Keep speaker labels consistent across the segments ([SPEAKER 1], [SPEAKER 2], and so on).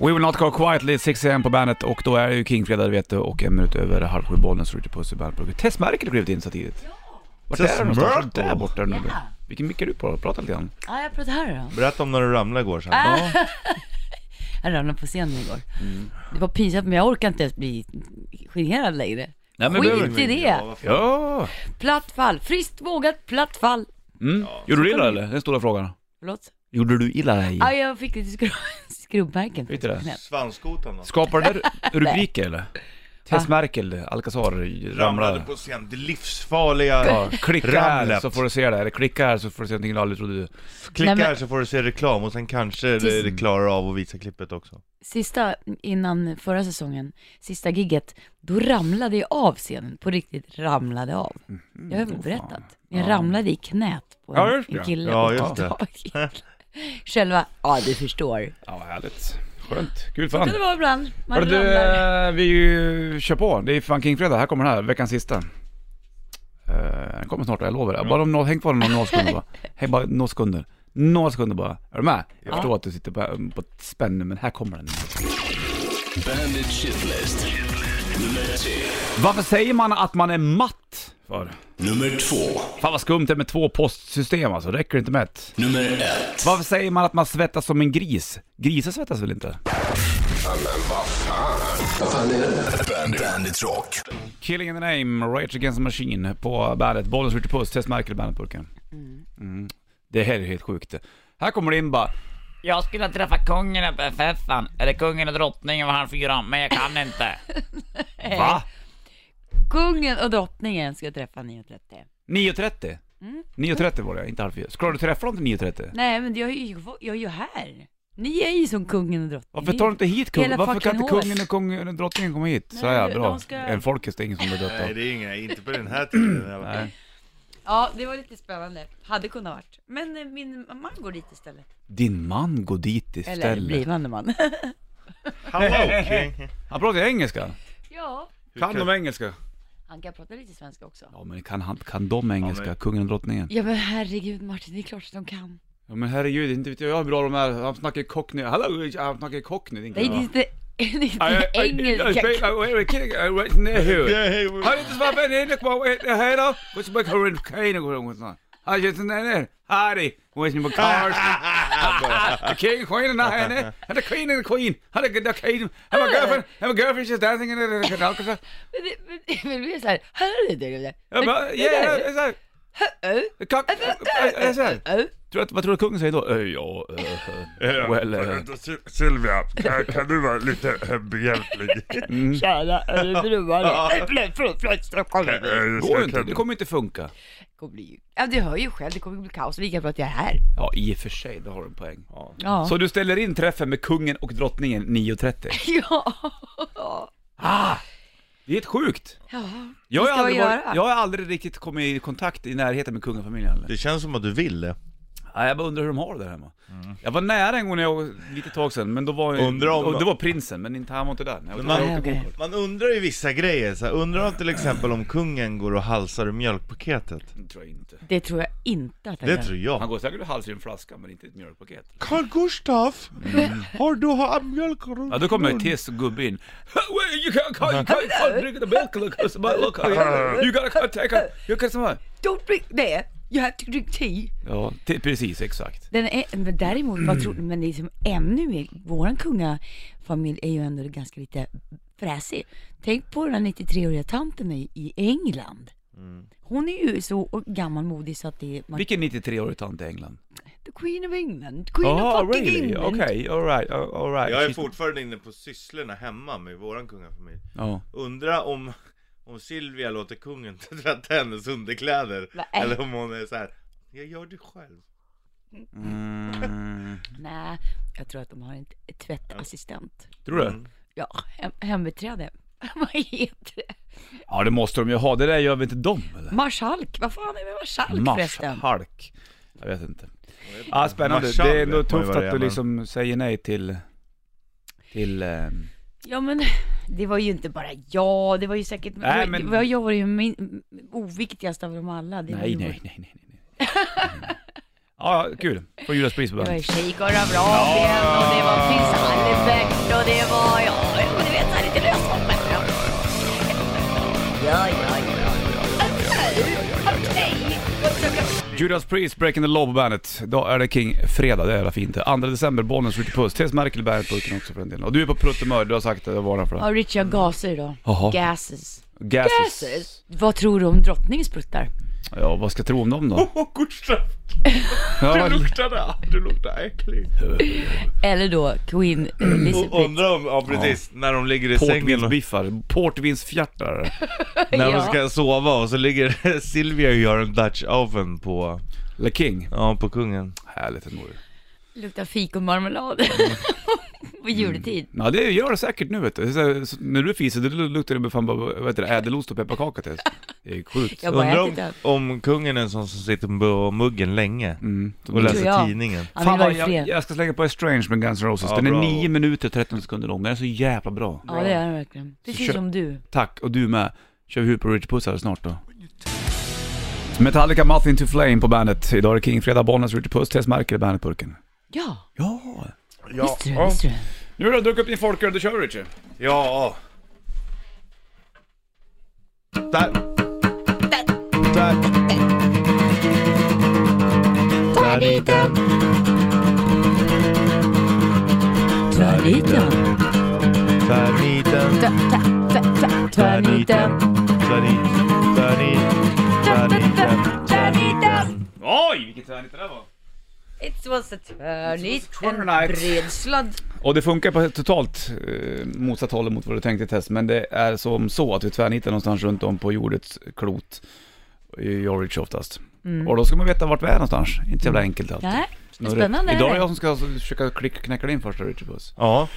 [SPEAKER 1] We will not go quietly, 6 am på bandet och då är det ju King-fredag det vet du och en minut över halv sju bollen så ryter puss i bandet. Tess Merkel har klivit in så tidigt. Vart
[SPEAKER 2] Tess
[SPEAKER 1] är du någonstans?
[SPEAKER 2] Merkel.
[SPEAKER 1] Där borta nu.
[SPEAKER 3] Ja.
[SPEAKER 1] Vilken mick är du på? Prata lite grann.
[SPEAKER 3] Ja, jag pratar här då.
[SPEAKER 2] Berätta om när du ramlade igår sen.
[SPEAKER 3] Ah, Jag ramlade på scenen igår. Det var pinsamt, men jag orkar inte ens bli generad längre.
[SPEAKER 1] Nej,
[SPEAKER 3] men Skit. det är det.
[SPEAKER 2] Ja, vad fan.
[SPEAKER 1] Ja!
[SPEAKER 3] Platt fall, friskt vågat platt fall.
[SPEAKER 1] Mm. Gjorde du illa eller? Det är den stora frågan.
[SPEAKER 3] Förlåt?
[SPEAKER 1] Gjorde du illa dig?
[SPEAKER 3] Ja, jag fick lite skrubb, skrubbmärken.
[SPEAKER 1] Vet du Mm. det?
[SPEAKER 3] Men-
[SPEAKER 2] Svanskotan då?
[SPEAKER 1] Skapade det rubriker eller?
[SPEAKER 3] Ah.
[SPEAKER 1] Tess Merkel, Alcazar ramlade.
[SPEAKER 2] Ramlade på scen, det livsfarliga.
[SPEAKER 1] Ja, klicka här
[SPEAKER 2] Ramlet.
[SPEAKER 1] så får du se det, eller klicka här så får du se någonting du aldrig trodde.
[SPEAKER 2] Klicka
[SPEAKER 3] Nej, men-
[SPEAKER 2] här så får du se reklam och sen kanske
[SPEAKER 3] Tis-
[SPEAKER 2] det, det klarar av att visa klippet också.
[SPEAKER 3] Sista, innan förra säsongen, sista gigget, då ramlade jag av scenen. På riktigt ramlade av. Jag har
[SPEAKER 1] åh,
[SPEAKER 3] väl
[SPEAKER 1] fan.
[SPEAKER 3] berättat. Jag
[SPEAKER 1] Ja.
[SPEAKER 3] ramlade i knät på en,
[SPEAKER 1] Ja, just det.
[SPEAKER 3] en kille.
[SPEAKER 2] Ja,
[SPEAKER 3] och
[SPEAKER 2] just det.
[SPEAKER 3] tog tag i- Själva, ja du förstår.
[SPEAKER 1] Ja, vad härligt. Skönt. Kul
[SPEAKER 3] Så
[SPEAKER 1] fan.
[SPEAKER 3] kan det vara ibland. Man
[SPEAKER 1] Hörru du,
[SPEAKER 3] ramlar.
[SPEAKER 1] eh, vi eh, kör på. Det är fan Kingfredag. Här kommer den här, veckans sista. Eh, den kommer snart, jag lovar det. Bara om några, häng kvar några, några sekunder bara. Häng bara några sekunder. Några sekunder bara. Är du med? Jag förstår att du sitter på, på ett spänn nu, men här kommer den.
[SPEAKER 4] Bandit Shitlist. Nummer tre.
[SPEAKER 1] Varför säger man att man är matt? För?
[SPEAKER 4] Nummer två.
[SPEAKER 1] Fan vad skumt det är med två postsystem alltså, räcker det inte med ett?
[SPEAKER 4] Nummer ett.
[SPEAKER 1] Varför säger man att man svettas som en gris? Grisar svettas väl inte?
[SPEAKER 4] Bandit. Bandit Rock.
[SPEAKER 1] Killing in the name, Rage Against the Machine på bandet. Bollens Ritchie Puss, Tess Merkel i bandetburken. Mm. Det här är helt sjukt. Här kommer det in bara,
[SPEAKER 5] Jag skulle träffa kungen på FF'n, eller kungen och drottningen var han fyra, men jag kan inte.
[SPEAKER 3] Eh.
[SPEAKER 1] va?
[SPEAKER 3] Kungen och drottningen ska jag träffa 9.30.
[SPEAKER 1] 9.30?
[SPEAKER 3] Mm.
[SPEAKER 1] 9.30 var det, inte halv fyra. Skulle du träffa dem till 9.30?
[SPEAKER 3] Nej men jag är, ju, jag är ju här. Ni är ju som kungen och drottningen.
[SPEAKER 1] Varför tar du inte hit kungen?
[SPEAKER 3] Hela
[SPEAKER 1] Varför kan
[SPEAKER 3] fucking
[SPEAKER 1] inte kungen och, kungen och drottningen komma hit?
[SPEAKER 3] Nej,
[SPEAKER 1] Så här,
[SPEAKER 3] de
[SPEAKER 1] bra.
[SPEAKER 3] ska-
[SPEAKER 1] En folkis, det är ingen som blir dött
[SPEAKER 2] Nej
[SPEAKER 1] av.
[SPEAKER 2] det är inga, inte på den här tiden.
[SPEAKER 1] Nej.
[SPEAKER 3] Ja, det var lite spännande. Hade kunnat varit. Men eh, min man går dit istället.
[SPEAKER 1] Din man går dit istället.
[SPEAKER 3] Eller blivande man.
[SPEAKER 2] Hallå King!
[SPEAKER 1] Han pratar engelska.
[SPEAKER 3] ja.
[SPEAKER 1] Kan de engelska?
[SPEAKER 3] Han kan prata lite svenska också.
[SPEAKER 1] Ja men kan, han, kan de engelska,
[SPEAKER 2] men-
[SPEAKER 1] kungen och drottningen?
[SPEAKER 3] Ja men herregud Martin, det är klart att de kan.
[SPEAKER 1] Ja men herregud, inte vet jag hur bra de är. Han snackar cockney, hallå, han snackar cockney. din
[SPEAKER 3] Nej,
[SPEAKER 1] kille,
[SPEAKER 3] det
[SPEAKER 1] va?
[SPEAKER 3] är inte, det är
[SPEAKER 1] I- I-
[SPEAKER 3] inte
[SPEAKER 1] I- I
[SPEAKER 3] engelska.
[SPEAKER 1] speak- I- we're kidding, I was near here.
[SPEAKER 2] hej!
[SPEAKER 1] Har du inte svarat mig? Look vad heter här då? Vad som är current kane och sånt sånt. Har du inte den? Harry, vad som är cars? The king, queen and I and it. the queen and the queen. Har du the king? Have a girlfriend, have a girlfriend she's dancing in the canal.
[SPEAKER 3] Men det- men det men det blir såhär, hör du det? eller?
[SPEAKER 1] Ja, men- yeah, it's like,
[SPEAKER 3] Ö,
[SPEAKER 1] the cock, it's like.
[SPEAKER 3] ö.
[SPEAKER 1] Tror att, vad tror du kungen säger då? Eh, Ja, eh, eh, well, eh,
[SPEAKER 2] Sylvia, kan, kan du vara lite eh, behjälplig?
[SPEAKER 1] Mm.
[SPEAKER 3] Kära örebroare.
[SPEAKER 1] det går ju inte, det kommer inte funka.
[SPEAKER 3] Det kommer bli ju- Ja, du hör ju själv, det kommer bli kaos. Lika bra att jag är här.
[SPEAKER 1] Ja, i och för sig, då har du en poäng.
[SPEAKER 3] Ja.
[SPEAKER 1] Så du ställer in träffen med kungen och drottningen 9.30?
[SPEAKER 3] Ja.
[SPEAKER 1] Ah! Det är helt sjukt!
[SPEAKER 3] Ja.
[SPEAKER 1] Jag har,
[SPEAKER 3] Vad ska
[SPEAKER 1] aldrig
[SPEAKER 3] jag
[SPEAKER 1] varit,
[SPEAKER 3] göra?
[SPEAKER 1] jag har aldrig riktigt kommit i kontakt i närheten med kungafamiljen heller.
[SPEAKER 2] Det känns som att du vill det.
[SPEAKER 1] Ja, jag bara undrar hur de har det där hemma. Jag var nära en gång när jag, lite tag sedan, men då var
[SPEAKER 2] Mm. Undrar om-
[SPEAKER 1] och det var prinsen, men inte, han var inte där. Jag,
[SPEAKER 2] man-
[SPEAKER 1] jag åkte
[SPEAKER 3] Okej.
[SPEAKER 1] gokart.
[SPEAKER 2] Man undrar ju vissa grejer, så här, undrar till exempel om kungen går och halsar ur mjölkpaketet?
[SPEAKER 1] Det tror jag inte.
[SPEAKER 3] Det tror jag inte att jag
[SPEAKER 2] Det
[SPEAKER 3] gör.
[SPEAKER 2] tror
[SPEAKER 1] Han
[SPEAKER 2] jag.
[SPEAKER 1] går säkert och halsar i en flaska, men inte i ett mjölkpaket.
[SPEAKER 2] Carl Gustaf, har du har mjölk
[SPEAKER 1] Ja, då kommer Tess och gubbe in. Mm. Well, you can't, can't, you can't, can't drink the milk, look, it's about- look, you gotta can't take a, you can't...
[SPEAKER 3] Don't drink there, you have to drink tea.
[SPEAKER 1] Ja, te- precis, exakt.
[SPEAKER 3] Den är, men däremot, vad tror, men det är som ännu mer, våran kungafamilj är ju ändå ganska lite fräsig. Tänk på den här 93-åriga tanten i, i England. Hon är ju så gammalmodig så att det är... Man,
[SPEAKER 1] Vilken 93-årig tant i England?
[SPEAKER 3] the Queen of England, Queen of fucking England.
[SPEAKER 1] Okej, alright, alright.
[SPEAKER 2] Jag är fortfarande inne på sysslorna hemma med våran kungafamilj.
[SPEAKER 1] Ja.
[SPEAKER 2] Undra om, om Silvia låter kungen tvätta hennes underkläder.
[SPEAKER 3] Nej.
[SPEAKER 2] Eller om hon är så här. jag gör det själv.
[SPEAKER 1] Mm.
[SPEAKER 3] Nej, jag tror att de har en t- tvättassistent.
[SPEAKER 1] Tror du?
[SPEAKER 2] Mm.
[SPEAKER 3] Ja, hem, hembiträde. vad heter det?
[SPEAKER 1] Ja det måste de ju ha, det där gör väl inte de eller?
[SPEAKER 3] Marschalk, vad fan är det med marschalk förresten?
[SPEAKER 1] Marshalk. Jag vet inte. Ja spännande,
[SPEAKER 2] Marschall
[SPEAKER 1] det är
[SPEAKER 2] vet
[SPEAKER 1] ändå
[SPEAKER 2] man ju
[SPEAKER 1] tufft
[SPEAKER 2] vad det
[SPEAKER 1] att du
[SPEAKER 2] är, men-
[SPEAKER 1] liksom säger nej till... Till... ehm,
[SPEAKER 3] Ja men det var ju inte bara jag, det var ju säkert,
[SPEAKER 1] Nej,
[SPEAKER 3] det var-
[SPEAKER 1] men-
[SPEAKER 3] det var, jag var ju min oviktigast av dem alla. Det var
[SPEAKER 1] nej, nej,
[SPEAKER 3] ju
[SPEAKER 1] nej, nej, nej, nej. Ja, kul. Får Judas pris på
[SPEAKER 3] Det var ju
[SPEAKER 1] bandet.
[SPEAKER 3] Shake och Rabraken och det var Prins Albert
[SPEAKER 1] Judas Priest, Breaking the Law på bandet. Idag är det King Fredag, det är jävla fint. 2 december, Bollnäs Ritchie Puss. Tess Merkel bär burken också för den delen. Och du är på pruttemör, du har sagt det, jag varnar för
[SPEAKER 3] Ja,
[SPEAKER 1] det.
[SPEAKER 3] Richie har gaser idag.
[SPEAKER 1] Jaha.
[SPEAKER 3] Gases.
[SPEAKER 1] Gases.
[SPEAKER 3] Vad tror du om drottningens pruttar?
[SPEAKER 1] Ja, vad ska jag tro om dem
[SPEAKER 3] Oh,
[SPEAKER 1] då?
[SPEAKER 2] Åh, Gustav!
[SPEAKER 1] Ja,
[SPEAKER 2] luktade, du luktar äcklig.
[SPEAKER 3] Eller då Queen
[SPEAKER 2] Och
[SPEAKER 3] Elizabeth.
[SPEAKER 2] undrar om, ja precis, när de ligger i sängen och
[SPEAKER 1] portvinsbiffar, portvinsfjärtar.
[SPEAKER 2] när de
[SPEAKER 3] Ja.
[SPEAKER 2] ska sova och så ligger Silvia och gör en Dutch oven på,
[SPEAKER 1] Le King.
[SPEAKER 2] ja på kungen.
[SPEAKER 1] Härligt ändå ju.
[SPEAKER 3] Luktar fikonmarmelad.
[SPEAKER 1] Mm.
[SPEAKER 3] På juletid.
[SPEAKER 1] Ja det gör det säkert nu vet du. Så, så, när du fiser det luktar det fan bara, vad heter det, ädelost och pepparkaka Tess. Det är sjukt.
[SPEAKER 3] Jag bara
[SPEAKER 2] Undrar
[SPEAKER 3] ätit
[SPEAKER 2] om,
[SPEAKER 3] den.
[SPEAKER 2] om kungen är en sån som sitter på muggen länge och
[SPEAKER 3] Tror
[SPEAKER 2] läser
[SPEAKER 3] jag.
[SPEAKER 2] tidningen.
[SPEAKER 3] Han
[SPEAKER 1] Mm. Fan
[SPEAKER 3] vill vara
[SPEAKER 1] vad
[SPEAKER 3] i
[SPEAKER 1] jag,
[SPEAKER 3] fred.
[SPEAKER 1] jag ska slänga på Estrange med Guns N' Roses.
[SPEAKER 2] Ja,
[SPEAKER 1] Den är
[SPEAKER 2] bra.
[SPEAKER 1] 9 minuter och 13 sekunder lång. Den är så jävla bra.
[SPEAKER 3] Ja, det är han verkligen. Precis
[SPEAKER 1] kör-
[SPEAKER 3] som du.
[SPEAKER 1] Tack, och du med. Kör vi huvud på Rich Puss här snart då. Metallica, Moth Into Flame på bandet. Idag är det King, Fredag, Bollnäs, Rich Puss, Tess Merkel i bandetburken.
[SPEAKER 3] Ja,
[SPEAKER 1] Ja!
[SPEAKER 3] visste du, visste du.
[SPEAKER 1] Nu har du druckit upp din folköl, då kör vi Richie.
[SPEAKER 2] Ja. Där. Där.
[SPEAKER 3] Ta dit den. Ta dit den.
[SPEAKER 2] Tvärniten.
[SPEAKER 3] Ta, ta, ta, ta, ta dit den.
[SPEAKER 2] Tvärniten. Tvärniten.
[SPEAKER 3] Ta, ta, ta, ta dit den.
[SPEAKER 1] Oj, vilket härligt det där var!
[SPEAKER 3] It was a turn it, en
[SPEAKER 1] turnip.
[SPEAKER 3] bred sladd.
[SPEAKER 1] Och det funkar på totalt eh, motsatt håll mot vad du tänkte Tess, men det är som så att vi tvärnitar någonstans runt om på jordets klot, i Yorich oftast. Och då ska man veta vart vi är någonstans, inte så jävla enkelt alltid.
[SPEAKER 3] Nej,
[SPEAKER 1] Snurre.
[SPEAKER 3] spännande
[SPEAKER 1] Idag är det
[SPEAKER 3] är det.
[SPEAKER 1] jag som ska försöka klick, knäcka din första Richard Puss.
[SPEAKER 2] Ja.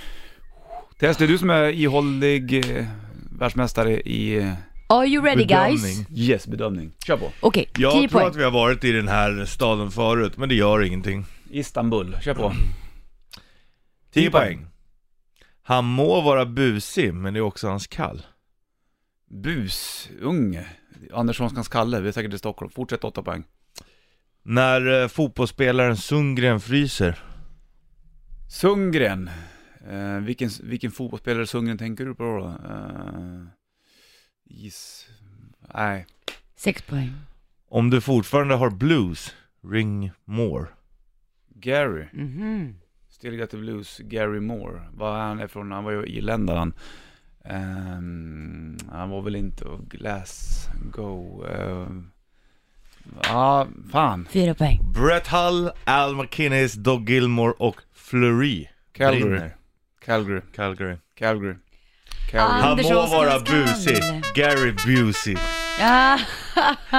[SPEAKER 1] Tess, det är du som är ihållig eh, världsmästare i eh,
[SPEAKER 3] Are you ready guys?
[SPEAKER 2] Bedömning.
[SPEAKER 1] yes-bedömning. Kör på!
[SPEAKER 3] Okej,
[SPEAKER 2] Jag
[SPEAKER 3] 10
[SPEAKER 2] tror
[SPEAKER 3] poäng.
[SPEAKER 2] att vi har varit i den här staden förut, men det gör ingenting.
[SPEAKER 1] Istanbul, kör på.
[SPEAKER 2] 10 poäng. Han må vara busig, men det är också hans kall.
[SPEAKER 1] Busunge. Anderssonskans Kalle, vi är säkert i Stockholm. Fortsätt åtta poäng.
[SPEAKER 2] När eh, fotbollsspelaren Sundgren fryser.
[SPEAKER 1] Sundgren. Eh, vilken, vilken fotbollsspelare Sundgren tänker du på då? Eh, is... Nej.
[SPEAKER 3] 6 poäng.
[SPEAKER 2] Om du fortfarande har blues, ring more.
[SPEAKER 1] Gary.
[SPEAKER 3] Mhm.
[SPEAKER 1] Still got the blues, Gary Moore. Var han är från? Han var ju irländare han. Ehm, han var väl inte av Glasgow. ehm. Ja, fan.
[SPEAKER 3] 4 poäng.
[SPEAKER 2] Brett Hull, Al McInnes, Doug Gilmore och Fleury.
[SPEAKER 1] Calgary.
[SPEAKER 2] Brinner.
[SPEAKER 1] Calgary.
[SPEAKER 2] Calgary.
[SPEAKER 1] Calgary. Calgary.
[SPEAKER 3] Ah.
[SPEAKER 2] Han må
[SPEAKER 3] Anderssonskans
[SPEAKER 2] vara
[SPEAKER 3] kall.
[SPEAKER 2] busig, Gary Busey.
[SPEAKER 3] Ja,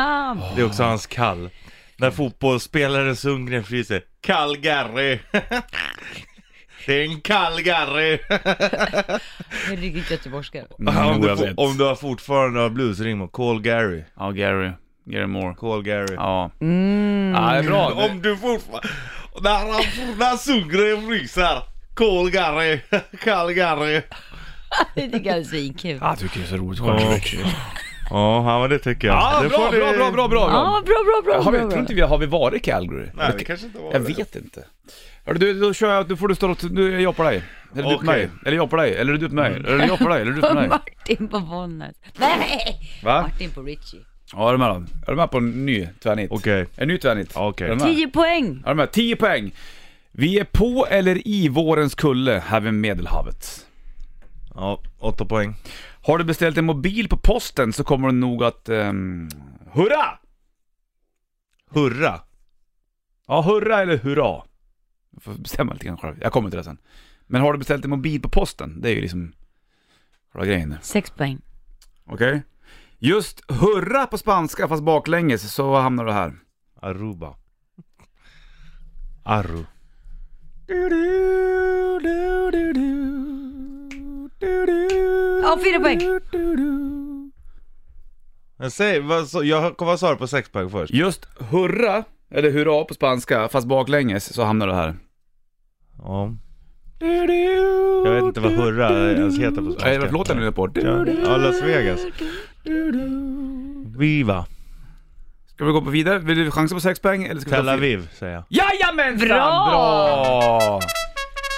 [SPEAKER 2] Det är också hans kall. När fotbollsspelaren Sundgren fryser, Calgary. Det är en Calgary.
[SPEAKER 3] herregud göteborgska.
[SPEAKER 2] om,
[SPEAKER 1] Jo, Mm, jag
[SPEAKER 2] du,
[SPEAKER 1] vet.
[SPEAKER 2] om du har fortfarande har blues, ring mig. Call Gary.
[SPEAKER 1] Ja, Gary. Gary Moore.
[SPEAKER 2] Call Gary.
[SPEAKER 1] Ja.
[SPEAKER 3] Mm.
[SPEAKER 1] Ja, det är bra.
[SPEAKER 2] Om du fortfarande... När, han- när Sundgren fryser, Call Gary. Call Gary.
[SPEAKER 3] Det tycker jag är svinkul.
[SPEAKER 1] Jag tycker det är så roligt
[SPEAKER 2] Ja. Ja, ja, men det tycker jag.
[SPEAKER 1] Ja,
[SPEAKER 2] det
[SPEAKER 1] bra,
[SPEAKER 2] får ni-
[SPEAKER 1] bra, bra, bra, bra.
[SPEAKER 3] Ja, bra, bra, bra,
[SPEAKER 1] Har vi,
[SPEAKER 3] bra,
[SPEAKER 1] tror
[SPEAKER 3] bra.
[SPEAKER 1] inte vi har vi varit i Calgary?
[SPEAKER 2] Nej, det kanske inte var
[SPEAKER 1] Jag
[SPEAKER 2] det.
[SPEAKER 1] vet inte. Hörru, du, då kör jag, då får du stå åt, nu, jag på dig. Eller du på
[SPEAKER 2] Okej. Mm.
[SPEAKER 1] mig. Eller jag på dig. Eller du på mig. Eller jag på dig. Eller du på mig.
[SPEAKER 3] Martin på Bollnäs. Nej!
[SPEAKER 2] Va?
[SPEAKER 3] Martin på Richie.
[SPEAKER 1] Ja, är du med då? Är du med på en ny tvärnit?
[SPEAKER 2] Okej.
[SPEAKER 1] En ny tvärnit?
[SPEAKER 2] Ja, okej.
[SPEAKER 1] Är du med?
[SPEAKER 3] 10 poäng.
[SPEAKER 1] Är du med? 10 poäng. Vi är på eller i vårens kulle här vid Medelhavet.
[SPEAKER 2] Ja, åtta poäng.
[SPEAKER 1] Har du beställt en mobil på posten så kommer du nog att... ehm, hurra!
[SPEAKER 2] Hurra.
[SPEAKER 1] Ja, hurra eller hurra. Jag får bestämma lite grann själv. Jag kommer till det sen. Men har du beställt en mobil på posten? Det är ju liksom själva grejen. där.
[SPEAKER 3] 6 poäng.
[SPEAKER 1] Okej? Just hurra på spanska fast baklänges så hamnar du här.
[SPEAKER 2] Aruba. Arru.
[SPEAKER 3] Ja, fyra poäng.
[SPEAKER 2] Men säg, vad, sa- jag kommer svara på sex poäng först.
[SPEAKER 1] Just hurra, eller hurra på spanska fast baklänges så hamnar du här.
[SPEAKER 2] Ja. Jag vet inte vad hurra ens heter på svenska.
[SPEAKER 1] Nej, vad låten nu är på.
[SPEAKER 2] Ja, Las Vegas. Viva.
[SPEAKER 1] Ska vi gå på vidare? Vill du chansa på sex poäng eller ska vi
[SPEAKER 2] Tel
[SPEAKER 1] ta fyra?
[SPEAKER 2] Aviv, säger jag.
[SPEAKER 1] Jajamensan!
[SPEAKER 3] Bra!
[SPEAKER 1] Bra!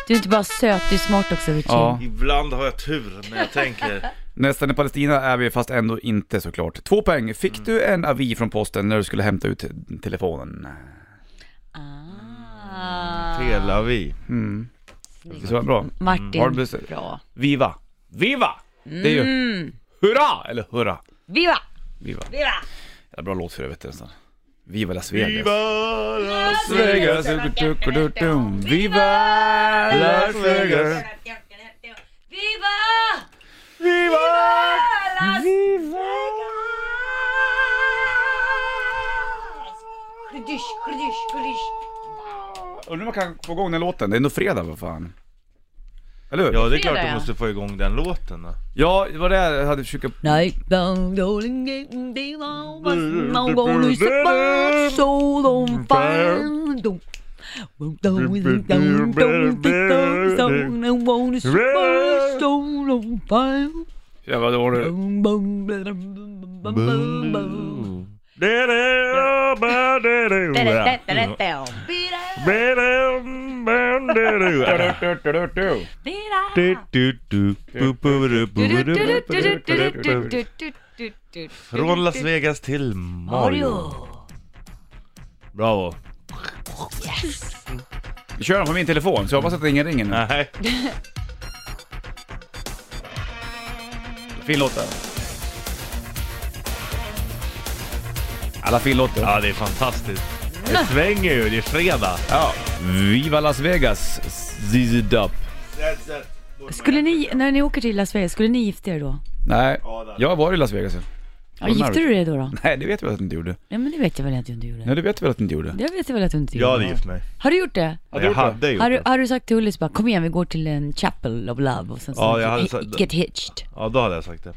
[SPEAKER 3] Du är inte bara söt, du är smart också Richie.
[SPEAKER 1] Ja.
[SPEAKER 2] Ibland har jag tur när jag tänker.
[SPEAKER 1] Nästan i Palestina är vi fast ändå inte såklart. Två poäng. Fick du en avi från posten när du skulle hämta ut telefonen?
[SPEAKER 3] Ah.
[SPEAKER 2] Tel Aviv.
[SPEAKER 1] Det var bra.
[SPEAKER 3] Martin,
[SPEAKER 1] Har du besök?
[SPEAKER 3] bra.
[SPEAKER 1] Viva. Viva! Det är ju hurra eller hurra.
[SPEAKER 3] Viva!
[SPEAKER 1] Viva.
[SPEAKER 3] Viva!
[SPEAKER 1] Det är bra låt för övrigt nästan. Viva Las Vegas.
[SPEAKER 2] Viva Las
[SPEAKER 1] Vegas. Viva Las Vegas.
[SPEAKER 3] Viva!
[SPEAKER 2] Viva!
[SPEAKER 3] Las Vegas!
[SPEAKER 1] Undrar om man kan få igång den låten. Det är ändå fredag vad fan. Eller hur?
[SPEAKER 2] Ja, det är klart
[SPEAKER 3] Fredag,
[SPEAKER 2] du
[SPEAKER 3] ja.
[SPEAKER 2] måste få igång den låten då.
[SPEAKER 1] Ja, det var det jag hade försökt...
[SPEAKER 3] Night down, rolling in the long one. I'm gonna set my soul on fire. Don't Well, don't it down, don't it down, down. I wanna set my soul on fire.
[SPEAKER 1] Ja, vad var det?
[SPEAKER 3] Bum, bum, bla, bum, bum, bum, bum.
[SPEAKER 2] Från Las Vegas till Mario. Bravo.
[SPEAKER 1] Vi kör den på min telefon, så jag hoppas att ingen ringer nu.
[SPEAKER 2] Nej.
[SPEAKER 1] Fin låt där. Alla fin låt
[SPEAKER 2] Ja, det är fantastiskt. Det svänger ju, det är fredag.
[SPEAKER 1] Ja. Viva Las Vegas. ZZ Dup.
[SPEAKER 3] Skulle ni, när ni åker till Las Vegas, skulle ni gifta er då?
[SPEAKER 1] Nej, jag var i Las Vegas.
[SPEAKER 3] Ja, gifte du dig då? då?
[SPEAKER 1] Nej, det vet vi väl att du inte gjorde.
[SPEAKER 3] Nej men det vet jag väl att du inte gjorde.
[SPEAKER 1] Nej, det vet vi väl att du inte gjorde.
[SPEAKER 3] Det vet jag väl att du inte
[SPEAKER 2] Jag hade
[SPEAKER 3] gjorde.
[SPEAKER 2] gift mig.
[SPEAKER 3] Har du gjort det?
[SPEAKER 1] Ja,
[SPEAKER 2] Men
[SPEAKER 1] du
[SPEAKER 2] jag
[SPEAKER 1] gjorde det.
[SPEAKER 2] hade gjort
[SPEAKER 3] Har du,
[SPEAKER 2] det.
[SPEAKER 3] har du sagt till Ullis bara kom igen vi går till en chapel of love och sen så
[SPEAKER 2] Ja, jag hade
[SPEAKER 3] hi-
[SPEAKER 2] sagt-
[SPEAKER 3] get hitched.
[SPEAKER 2] Ja, då hade jag sagt det.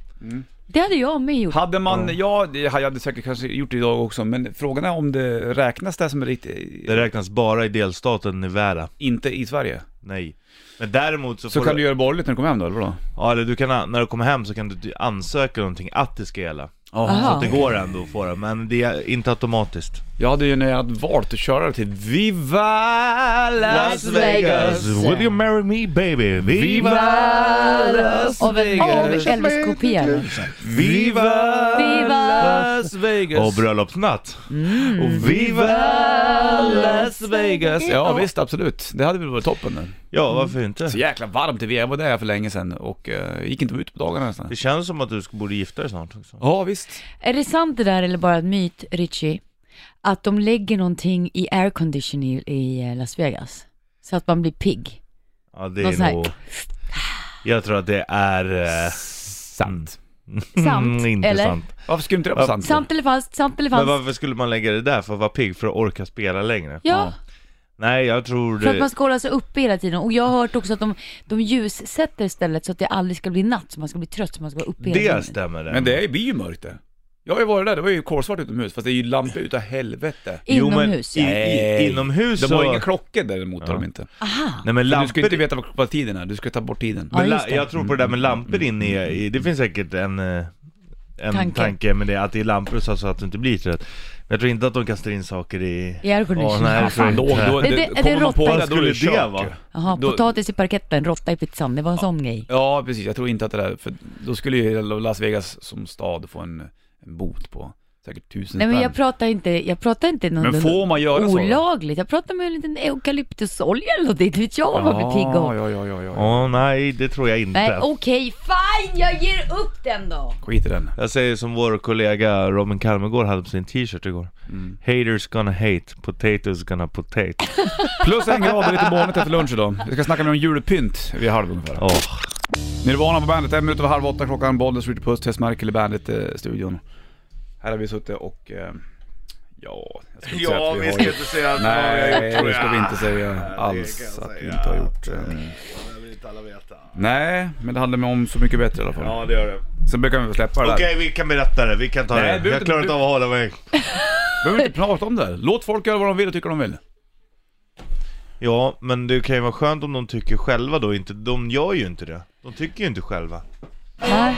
[SPEAKER 3] Det hade jag med gjort.
[SPEAKER 1] Hade man, ja, det jag hade säkert kanske gjort det idag också, men frågan är om det räknas det som riktigt,
[SPEAKER 2] Det räknas bara i delstaten Nevada.
[SPEAKER 1] inte i Sverige.
[SPEAKER 2] Nej. Men däremot så,
[SPEAKER 1] Så
[SPEAKER 2] får
[SPEAKER 1] kan du göra borgerligt när du kommer hem då, eller vadå?
[SPEAKER 2] Ja, eller du kan, när du kommer hem så kan du ansöka om någonting att det ska gälla.
[SPEAKER 3] Aha.
[SPEAKER 2] Det går ändå att få det, men det är inte automatiskt.
[SPEAKER 1] Jag hade ju när jag hade valt att köra till Viva Las Vegas!
[SPEAKER 2] Will you marry me baby?
[SPEAKER 1] Las
[SPEAKER 3] Av en av
[SPEAKER 1] Vegas!
[SPEAKER 3] Elvis-kopia.
[SPEAKER 1] Viva
[SPEAKER 3] Viva
[SPEAKER 1] Las Vegas!
[SPEAKER 2] Och bröllopsnatt! Och Mm. viva!
[SPEAKER 1] Las Vegas! Ja visst, absolut. Det hade väl varit toppen. nu.
[SPEAKER 2] Ja, varför inte?
[SPEAKER 1] Så jäkla varmt det var. Jag var där för länge sedan och eh, gick inte ut på dagarna nästan.
[SPEAKER 2] Det känns som att du ska- borde gifta dig snart också.
[SPEAKER 1] Ja visst.
[SPEAKER 3] Är det sant det där eller bara en myt, Richie? Att de lägger någonting i aircondition i, i eh, Las Vegas? Så att man blir pigg.
[SPEAKER 2] Ja, det
[SPEAKER 3] Någon sån
[SPEAKER 2] är
[SPEAKER 3] här-
[SPEAKER 2] nog... Jag tror att det är... Eh... mm.
[SPEAKER 1] Sant.
[SPEAKER 3] Sant,
[SPEAKER 2] inte
[SPEAKER 3] eller?
[SPEAKER 2] sant.
[SPEAKER 1] Varför skulle inte det vara sant? då?
[SPEAKER 3] Sant eller falskt, sant eller
[SPEAKER 2] Men
[SPEAKER 3] falskt?
[SPEAKER 2] varför skulle man lägga det där för att vara pigg? För att orka spela längre?
[SPEAKER 3] Ja,
[SPEAKER 2] Nej, jag tror...
[SPEAKER 3] för att man
[SPEAKER 2] Det...
[SPEAKER 3] ska hålla sig uppe hela tiden. Och jag har hört också att de, de ljussätter istället så att det aldrig ska bli natt, så man ska bli trött, så man ska vara uppe hela
[SPEAKER 2] Det
[SPEAKER 3] tiden.
[SPEAKER 2] stämmer det.
[SPEAKER 1] Men det är- blir ju mörkt det. Jag har ju varit där, det var ju kolsvart utomhus fast det är ju lampor utav helvete.
[SPEAKER 2] Jo, men
[SPEAKER 3] Inomhus,
[SPEAKER 2] i,
[SPEAKER 3] ja.
[SPEAKER 2] i, inomhus
[SPEAKER 1] De
[SPEAKER 2] så...
[SPEAKER 1] har inga klockor däremot har de inte.
[SPEAKER 3] Aha!
[SPEAKER 2] Nej men
[SPEAKER 1] För Du
[SPEAKER 2] lampor...
[SPEAKER 1] ska inte veta vad, vad tiden är, du ska ta bort tiden.
[SPEAKER 3] Ja,
[SPEAKER 2] men la...
[SPEAKER 3] just det.
[SPEAKER 2] Jag tror på det där med lampor
[SPEAKER 1] Mm.
[SPEAKER 2] inne i... i- Det finns säkert en... eh, En
[SPEAKER 3] Tanke.
[SPEAKER 2] tanke, med det, att det är lampor så så att du inte blir trött. Men jag tror inte att de kastar in saker i...
[SPEAKER 3] I aircondition.
[SPEAKER 2] Ja, nej,
[SPEAKER 3] Vad
[SPEAKER 2] jag tror
[SPEAKER 3] fan,
[SPEAKER 1] Då,
[SPEAKER 2] inte.
[SPEAKER 1] då,
[SPEAKER 3] Är det- är det
[SPEAKER 1] kommer man på
[SPEAKER 3] råttan?
[SPEAKER 1] det, då är
[SPEAKER 2] Vad skulle det
[SPEAKER 1] kört
[SPEAKER 2] vara?
[SPEAKER 1] ju.
[SPEAKER 3] Jaha,
[SPEAKER 1] Då-
[SPEAKER 3] potatis i parketten, råtta i pizzan, det var en sån grej.
[SPEAKER 1] Ja, precis. Jag tror inte att det där, för då skulle ju Las Vegas som stad få en, en bot på säkert tusen
[SPEAKER 3] Nej men jag
[SPEAKER 1] spänn.
[SPEAKER 3] pratar inte, jag pratar inte någon
[SPEAKER 1] Men får man göra så? då?
[SPEAKER 3] olagligt. Jag pratar med en liten eukalyptusolja eller något, inte vet jag vad man blir pigg
[SPEAKER 1] ja,
[SPEAKER 3] av.
[SPEAKER 1] ja, ja, ja, ja.
[SPEAKER 2] Åh nej, det tror jag inte.
[SPEAKER 3] Nej okej, fine, jag ger upp den då.
[SPEAKER 1] Skit i den.
[SPEAKER 2] Jag säger som vår kollega Robin Kalmegård hade på sin t-shirt igår. Haters gonna hate, potatoes gonna potato.
[SPEAKER 1] Plus en grad och lite molnigt efter lunch idag. Vi ska snacka mer om julpynt vid halv ungefär.
[SPEAKER 2] Åh,
[SPEAKER 1] Nirvana på bandet, en minut över halv åtta klockan, Bollnäs, Ritchie Puss, Tess Merkel i bandet-studion. Här har vi suttit och... Eh, ja, jag ska inte säga att vi, har gjort...
[SPEAKER 2] säga att
[SPEAKER 1] Nej, det ska vi inte säga alls att vi inte har gjort. eh.
[SPEAKER 2] Det vill inte alla veta.
[SPEAKER 1] Nej, men det handlar om Så Mycket Bättre i alla fall.
[SPEAKER 2] Ja, det gör det.
[SPEAKER 1] Sen brukar vi väl släppa det
[SPEAKER 2] Okej,
[SPEAKER 1] där.
[SPEAKER 2] vi kan berätta det. Vi kan ta
[SPEAKER 1] Nej, du
[SPEAKER 2] det.
[SPEAKER 1] behöver
[SPEAKER 2] Jag klarar
[SPEAKER 1] inte-
[SPEAKER 2] inte av att hålla mig.
[SPEAKER 1] behöver inte prata om det här. Låt folk göra vad de vill och tycker de vill.
[SPEAKER 2] Ja, men det kan ju vara skönt om de tycker själva då. Inte, de gör ju inte det. De tycker ju inte själva.
[SPEAKER 3] Va?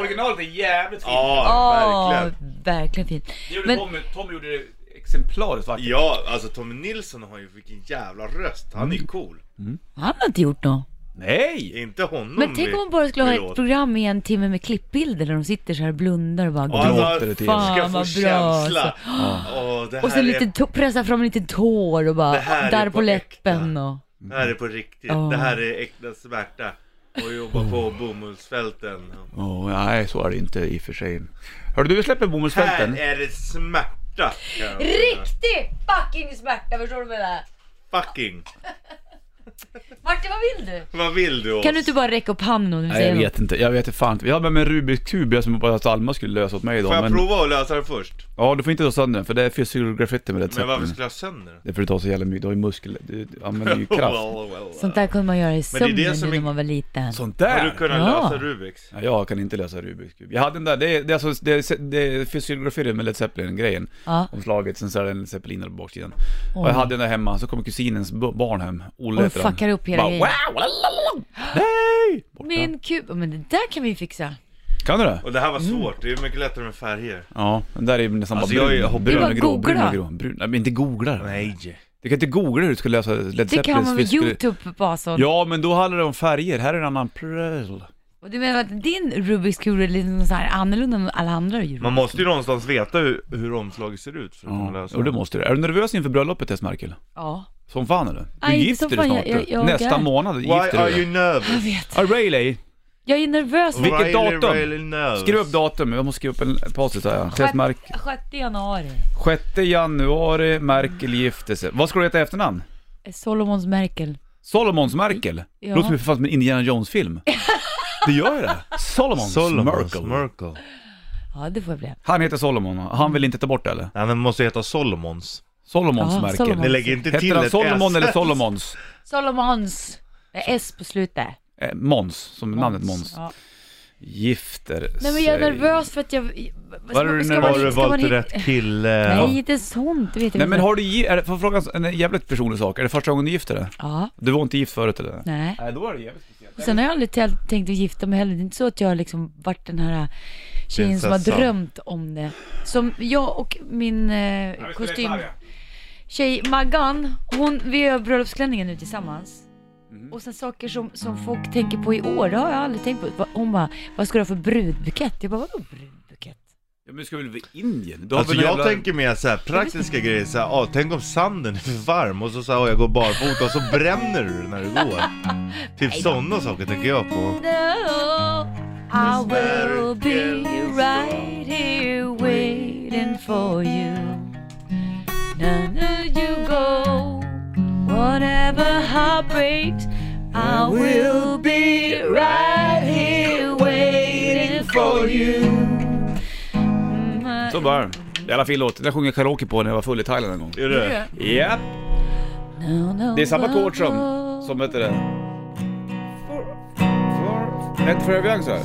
[SPEAKER 1] originalet är jävligt fint.
[SPEAKER 2] Ja,
[SPEAKER 3] Åh,
[SPEAKER 2] verkligen.
[SPEAKER 3] verkligen fint.
[SPEAKER 1] Det gjorde
[SPEAKER 3] Men
[SPEAKER 1] Tommy, Tommy gjorde det exemplariskt vackert.
[SPEAKER 2] Ja, alltså Tommy Nilsson har ju vilken jävla röst. Han är ju cool.
[SPEAKER 3] han har inte gjort något.
[SPEAKER 1] Nej!
[SPEAKER 2] Inte honom
[SPEAKER 3] Men tänk om man bara skulle ha ett program i en timme med klippbilder där de sitter så här och blundar och
[SPEAKER 2] Ja,
[SPEAKER 3] bara gråter.
[SPEAKER 2] alltså,
[SPEAKER 1] Gråter det till.
[SPEAKER 2] Fan ska
[SPEAKER 3] Fan,
[SPEAKER 2] få
[SPEAKER 3] vad bra,
[SPEAKER 2] känsla.
[SPEAKER 3] alltså.
[SPEAKER 2] Åh, det här
[SPEAKER 3] Och så lite,
[SPEAKER 2] är,
[SPEAKER 3] to- pressa fram lite tår och
[SPEAKER 2] Det
[SPEAKER 3] bara
[SPEAKER 2] här är
[SPEAKER 3] darr
[SPEAKER 2] på
[SPEAKER 3] på läppen
[SPEAKER 2] äkta.
[SPEAKER 3] och...
[SPEAKER 2] det här är på riktigt.
[SPEAKER 3] Ja. Oh.
[SPEAKER 2] Det här är äkta smärta. Och jobba på bomullsfälten.
[SPEAKER 1] Åh, nej, så är det inte i och för sig. Hörru du, vi släpper
[SPEAKER 2] Här
[SPEAKER 1] bomullsfälten.
[SPEAKER 2] är det smärta. kan jag säga.
[SPEAKER 3] Riktig fucking smärta, förstår du vad jag menar?
[SPEAKER 2] Fucking.
[SPEAKER 3] Martin, vad vill du?
[SPEAKER 2] Vad vill du oss?
[SPEAKER 3] Kan du inte bara räcka upp handen när du
[SPEAKER 1] Nej, jag
[SPEAKER 3] säger något?
[SPEAKER 1] vet inte. Jag vet inte fan inte. Jag har med mig en Rubiks kub jag som jag bara att Alma skulle lösa åt mig
[SPEAKER 2] Får
[SPEAKER 1] idag.
[SPEAKER 2] jag
[SPEAKER 1] Men,
[SPEAKER 2] prova att lösa den först?
[SPEAKER 1] ja, du får inte ta sönder den för det är physical graffiti med det
[SPEAKER 2] Men varför skulle jag ha sönder den?
[SPEAKER 1] Det är för att du tar så jävla mycket, du har ju muskel, du du använder mm. ju kraft.
[SPEAKER 2] Well, well, well.
[SPEAKER 3] Sånt där kunde man göra i
[SPEAKER 2] det är
[SPEAKER 3] sömnen
[SPEAKER 2] det som
[SPEAKER 3] när
[SPEAKER 2] är-
[SPEAKER 3] man var liten.
[SPEAKER 1] Sånt
[SPEAKER 2] Har du
[SPEAKER 1] där!
[SPEAKER 2] kunnat
[SPEAKER 3] Ja.
[SPEAKER 2] lösa Rubiks?
[SPEAKER 1] Ja, jag kan inte lösa Rubiks kub. Jag hade den där, det är, det är alltså, det är, det är physical graffiti med Led Zeppelin-grejen.
[SPEAKER 3] Ja.
[SPEAKER 1] Omslaget, sen så är det en zeppelinare på baksidan.
[SPEAKER 3] Oj.
[SPEAKER 1] Och jag hade den där hemma, så kommer kusinens b- barn hem, Olle
[SPEAKER 3] Och
[SPEAKER 1] heter han.
[SPEAKER 3] fuckar upp hela
[SPEAKER 1] Bara,
[SPEAKER 3] grejen.
[SPEAKER 1] wow, lalalala. Hej! Borta.
[SPEAKER 3] Min kub, men det där kan vi ju fixa.
[SPEAKER 1] Kan du det?
[SPEAKER 2] Och det här var
[SPEAKER 3] Mm.
[SPEAKER 2] svårt, det är mycket lättare med färger.
[SPEAKER 1] Ja, den där är ju nästan
[SPEAKER 2] Alltså,
[SPEAKER 1] bara
[SPEAKER 2] jag
[SPEAKER 1] brun.
[SPEAKER 2] är-
[SPEAKER 1] brun,
[SPEAKER 3] Du bara
[SPEAKER 1] och grå, brun
[SPEAKER 3] googla.
[SPEAKER 1] och grå. Brun. Nej men inte googla det.
[SPEAKER 2] Nej.
[SPEAKER 1] Du kan inte googla hur du ska lösa Led
[SPEAKER 3] Det kan
[SPEAKER 1] Zeppelins
[SPEAKER 3] man med
[SPEAKER 1] fisk-
[SPEAKER 3] Youtube Bason.
[SPEAKER 1] Ja men då handlar det om färger, här är en annan pryl.
[SPEAKER 3] Och du menar att din Rubiks kub är lite så här annorlunda än alla andra djur?
[SPEAKER 2] Man måste ju någonstans veta hur, hur omslaget ser ut för att kunna
[SPEAKER 1] Ja,
[SPEAKER 2] lösa
[SPEAKER 1] och det
[SPEAKER 2] det.
[SPEAKER 1] måste du. Är du nervös inför bröllopet Tess Merkel?
[SPEAKER 3] Ja.
[SPEAKER 1] Som fan eller? Du
[SPEAKER 3] Nej, inte
[SPEAKER 1] gifter
[SPEAKER 3] som
[SPEAKER 1] dig
[SPEAKER 3] fan.
[SPEAKER 1] snart
[SPEAKER 3] Jag- jag-
[SPEAKER 1] du.
[SPEAKER 3] jag
[SPEAKER 1] Nästa
[SPEAKER 3] är.
[SPEAKER 1] månad
[SPEAKER 2] Why
[SPEAKER 1] gifter
[SPEAKER 2] are
[SPEAKER 1] du
[SPEAKER 2] you
[SPEAKER 1] dig.
[SPEAKER 3] Jag
[SPEAKER 2] nervous?
[SPEAKER 3] vet.
[SPEAKER 1] Ah, Rayleigh,
[SPEAKER 3] Jag är nervös.
[SPEAKER 1] Vilket
[SPEAKER 2] Riley,
[SPEAKER 1] datum?
[SPEAKER 2] Riley nervous.
[SPEAKER 1] skriv upp datum. Jag måste skriva upp en post-it här. Tess Merkel.
[SPEAKER 3] 6 januari.
[SPEAKER 1] 6 januari, Merkel gifter sig. Vad ska du heta i efternamn?
[SPEAKER 3] Solomons Merkel.
[SPEAKER 1] Solomons Merkel?
[SPEAKER 3] Ja.
[SPEAKER 1] Låter som för fan som en Indiana Jones-film. det gör ju det. Solomons,
[SPEAKER 2] Solomons
[SPEAKER 1] Merkel.
[SPEAKER 2] Merkel.
[SPEAKER 3] Ja, det får jag bli.
[SPEAKER 1] Han heter Solomon, och han vill inte ta bort det eller?
[SPEAKER 2] Nej, den måste heta Solomons.
[SPEAKER 1] Solomons
[SPEAKER 3] Ja,
[SPEAKER 1] Merkel.
[SPEAKER 3] Solomon.
[SPEAKER 2] Ni lägger inte till
[SPEAKER 1] Heter han
[SPEAKER 2] ett
[SPEAKER 1] Solomon
[SPEAKER 2] S.
[SPEAKER 1] eller Solomons?
[SPEAKER 3] Solomons. Med S på slutet.
[SPEAKER 1] Eh, Mons, som namnet Mons.
[SPEAKER 3] Ja.
[SPEAKER 1] Gifter
[SPEAKER 3] Nej men jag är
[SPEAKER 1] sig.
[SPEAKER 3] nervös för att jag...
[SPEAKER 1] Var är du
[SPEAKER 3] ska man-
[SPEAKER 1] nervös?
[SPEAKER 2] Har du
[SPEAKER 3] ska man
[SPEAKER 2] valt
[SPEAKER 3] hitta-
[SPEAKER 2] rätt kille?
[SPEAKER 3] Nej, inte sånt. Det vet jag
[SPEAKER 1] Nej
[SPEAKER 3] inte.
[SPEAKER 1] men har du, gi- är det, får jag fråga en jävligt personlig sak, är det första gången du gifter dig?
[SPEAKER 3] Ja,
[SPEAKER 1] Du var inte gift förut eller?
[SPEAKER 3] nej.
[SPEAKER 1] Nej då är det jävligt speciellt.
[SPEAKER 3] Och sen har jag aldrig täl- tänkt att gifta mig heller. Det är inte så att jag har liksom varit den här tjejen som har
[SPEAKER 2] Prinsessan.
[SPEAKER 3] drömt om det. Som jag och min eh, kostym... tjej Maggan, hon, vi gör bröllopsklänningen nu tillsammans. Och sen saker som, som folk tänker på i år, det har jag aldrig tänkt på. Va- Hon bara, vad ska du ha för brudbukett? Jag bara, vadå brudbukett?
[SPEAKER 1] Ja men ska väl vara i Indien? Du har
[SPEAKER 2] Alltså
[SPEAKER 1] väl en
[SPEAKER 2] jag
[SPEAKER 1] jävla-
[SPEAKER 2] tänker mer såhär praktiska grejer, såhär, ah, tänk om sanden är för varm och så såhär, ah, jag går barfota och så bränner du när du går. typ sådana saker tänker jag på.
[SPEAKER 3] No, I will be right here waiting for you. None of you go, whatever heartbreaks, I will be right here waiting for you.
[SPEAKER 1] Så bara. Jävla fin låt, den sjunger jag karaoke på när jag var full i Thailand en gång.
[SPEAKER 2] Är det?
[SPEAKER 1] Japp, det är samma ackord som, som heter det. Ett för Evian så här.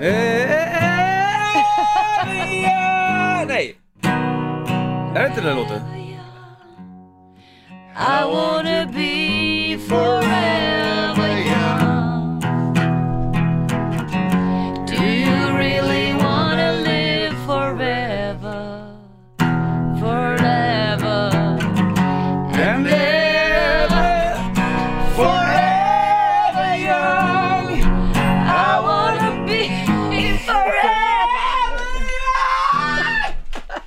[SPEAKER 1] Nej! Är det inte den låten?
[SPEAKER 3] I wanna be forever young. Do you really wanna live forever? Forever.
[SPEAKER 1] And ever, forever young
[SPEAKER 3] I wanna be forever.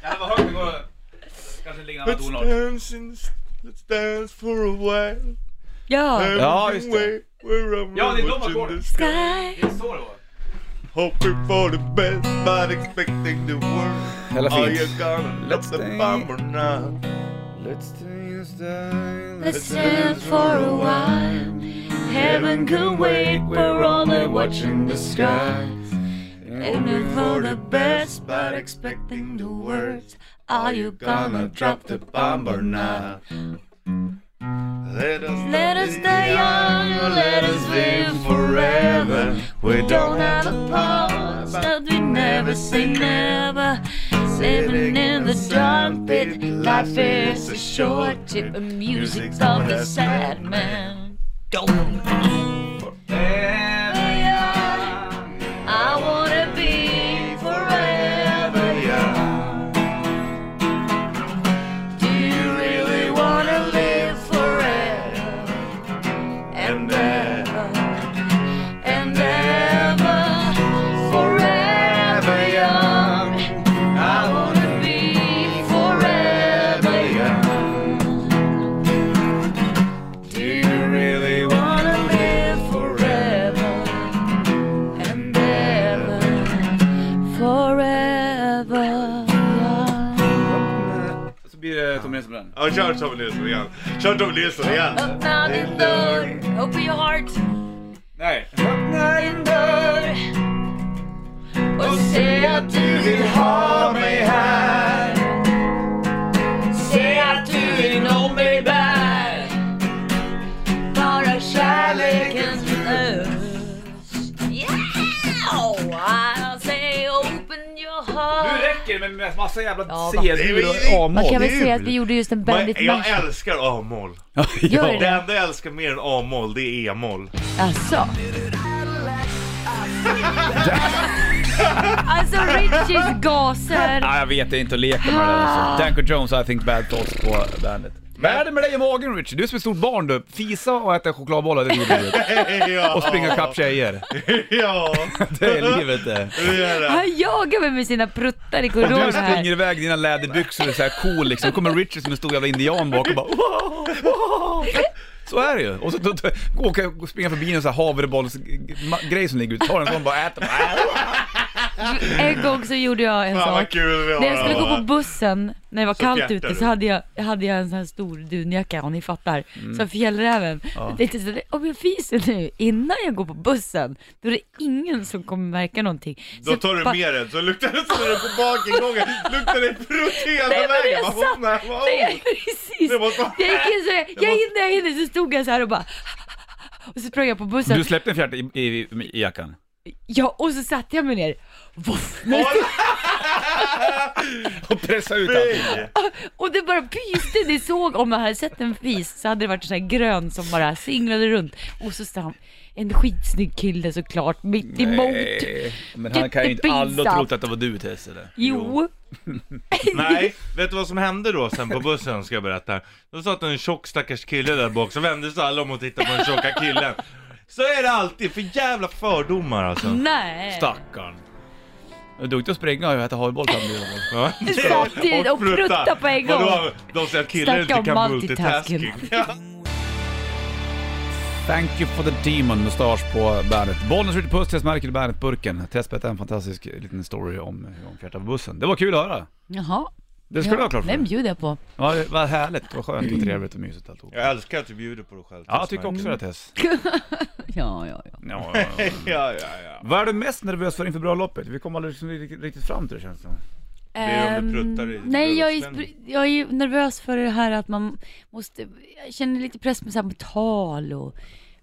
[SPEAKER 1] Jävlar vad högt det går. Kanske ligger en
[SPEAKER 2] Let's
[SPEAKER 1] annan tonart.
[SPEAKER 2] dance, in- let's dance for a while.
[SPEAKER 3] Ja.
[SPEAKER 1] Ja, just det. Ja, det är de ackorden.
[SPEAKER 3] Sky.
[SPEAKER 1] Det är så det var.
[SPEAKER 2] Hoping for the best but expecting the worst.
[SPEAKER 1] Jävla
[SPEAKER 2] Are
[SPEAKER 1] fint.
[SPEAKER 2] you gonna
[SPEAKER 1] Let's
[SPEAKER 2] love the
[SPEAKER 1] dance.
[SPEAKER 2] bomb or not?
[SPEAKER 3] Let's stand for a while. Heaven can wait. We're only watching the skies. Aiming for the best, but expecting the worst. Are you gonna drop the bomb or not?
[SPEAKER 2] Let us,
[SPEAKER 3] Let us stay young, let us live forever.
[SPEAKER 2] We
[SPEAKER 3] Don't have a pause that we never say never. Sitting in the dark pit, life is a short trip, and music's of the sad man. Don't. I wanna be
[SPEAKER 1] Nilsson.
[SPEAKER 2] Ja, kör Tommy Nilsson igen. Kör Tommy Nilsson igen.
[SPEAKER 3] Öppna din dörr, open your heart
[SPEAKER 1] Nej.
[SPEAKER 3] din dörr och se att du vill ha mig här. Se att du inom mig bär bara kärlekens röst. Yeah! Oh, I say open your
[SPEAKER 1] Nu
[SPEAKER 3] heart.
[SPEAKER 1] räcker det med massa jävla
[SPEAKER 3] Ja,
[SPEAKER 1] C-dur och
[SPEAKER 3] Man kan väl
[SPEAKER 2] Kul.
[SPEAKER 3] säga att vi gjorde just en
[SPEAKER 2] Men
[SPEAKER 3] Bandit
[SPEAKER 2] jag
[SPEAKER 3] mash.
[SPEAKER 2] älskar A-moll.
[SPEAKER 3] Gör du
[SPEAKER 2] Det
[SPEAKER 3] det?
[SPEAKER 2] enda jag älskar mer än A-moll, det är E-moll.
[SPEAKER 3] Alltså. alltså Richies gaser.
[SPEAKER 1] Nej, jag vet, det är inte att leka med det där alltså. Danko Jones, I think bad thoughts på bandet. Vad är det med dig i magen Richie? Du är som ett stort barn du. Fisa och äta chokladbollar, det gjorde du.
[SPEAKER 2] ja.
[SPEAKER 1] Och springa ikapp tjejer.
[SPEAKER 2] Ja,
[SPEAKER 1] Det är livet det.
[SPEAKER 2] det är det.
[SPEAKER 3] Han jagar mig med sina pruttar i
[SPEAKER 1] Du
[SPEAKER 3] korridoren
[SPEAKER 1] springer
[SPEAKER 3] här.
[SPEAKER 1] iväg i dina läderbyxor och är så här cool liksom. Då kommer Richie som en stor jävla indian bak och bara "Wow, wow." Så är det ju. Och så då, då, åka, springa förbi en sån här havrebollsgrej som ligger ute. Tar en sån och bara äter.
[SPEAKER 3] En gång så gjorde jag en
[SPEAKER 2] Fan vad
[SPEAKER 3] sak.
[SPEAKER 2] kul vi har.
[SPEAKER 3] När jag skulle
[SPEAKER 2] det
[SPEAKER 3] gå
[SPEAKER 2] här.
[SPEAKER 3] på bussen, när det var kallt
[SPEAKER 2] fjärtar
[SPEAKER 3] ute,
[SPEAKER 2] du.
[SPEAKER 3] så hade jag, hade jag en sån här stor dunjacka, om ni fattar. Som fjällräven. Jag tänkte så, här, om jag fiser nu, innan jag går på bussen, då är det ingen som kommer märka någonting. Så
[SPEAKER 2] Då tar du
[SPEAKER 3] ba-
[SPEAKER 2] med den, så luktar det så när du är på bakingången, luktar det prutt hela
[SPEAKER 3] Nej men
[SPEAKER 2] vägen.
[SPEAKER 3] jag
[SPEAKER 2] Vad
[SPEAKER 3] satt,
[SPEAKER 2] fan är det?
[SPEAKER 3] nej precis.
[SPEAKER 2] Det måste-
[SPEAKER 3] Jag gick in så, jag hinner, jag hinner, så stod jag så här och bara och så sprang jag på bussen,
[SPEAKER 1] Du släppte en fjärde i, i, i jackan.
[SPEAKER 3] ja och så satte jag mig ner, Voff, nej,
[SPEAKER 1] Och pressa ut allting.
[SPEAKER 3] och det bara pyste, ni såg, om man hade sett en fis så hade det varit en sån här grön som bara singlade runt och så stam, en skitsnygg kille såklart, mitt emot.
[SPEAKER 1] Nej, Men han kan ju inte alla
[SPEAKER 3] Jättepinsamt.
[SPEAKER 1] trott att det var du Tess eller?
[SPEAKER 3] Jo.
[SPEAKER 2] Nej, vet du vad som hände då sen på bussen ska jag berätta? Då satt en tjock stackars kille där bak, så vände sig alla om och tittade på den tjocka killen. Så är det alltid, för jävla fördomar alltså.
[SPEAKER 3] Mm. Nej.
[SPEAKER 1] Stackarn. Du är duktig att springa och äta hajboll samtidigt.
[SPEAKER 2] Ja.
[SPEAKER 3] Samtidigt och prutta på en gång.
[SPEAKER 2] Vadå? De säger att killar
[SPEAKER 3] Snacka
[SPEAKER 2] inte
[SPEAKER 3] om
[SPEAKER 2] kan
[SPEAKER 3] multitasking.
[SPEAKER 2] multitasking.
[SPEAKER 1] Thank you for the demon mustasch på bandet. Bollnäs Ritchie Puss, Tess Merkel, Bandet-burken. Tess berättade en fantastisk liten story om hur hon fjärtade på bussen. Det var kul att höra.
[SPEAKER 3] Jaha.
[SPEAKER 1] Det skulle du ha klart för
[SPEAKER 3] Den
[SPEAKER 1] dig.
[SPEAKER 3] bjuder jag på.
[SPEAKER 1] Ja, det var härligt. Det var skönt och trevligt och mysigt alltihop.
[SPEAKER 2] Jag älskar att du bjuder på dig själv.
[SPEAKER 1] Ja, jag tycker också det Tess.
[SPEAKER 3] Ja, ja, ja.
[SPEAKER 1] Ja, ja, ja.
[SPEAKER 2] Ja, ja, ja.
[SPEAKER 1] Vad är du mest nervös för inför Brödloppet? Vi kom aldrig liksom riktigt- riktigt fram till det känns det som.
[SPEAKER 2] är om du
[SPEAKER 3] Ehm,
[SPEAKER 2] pruttar i
[SPEAKER 3] Nej, jag är,
[SPEAKER 2] bröstspänning.
[SPEAKER 3] spr- jag är ju nervös för det här att man måste, jag känner lite press med, så här, med tal och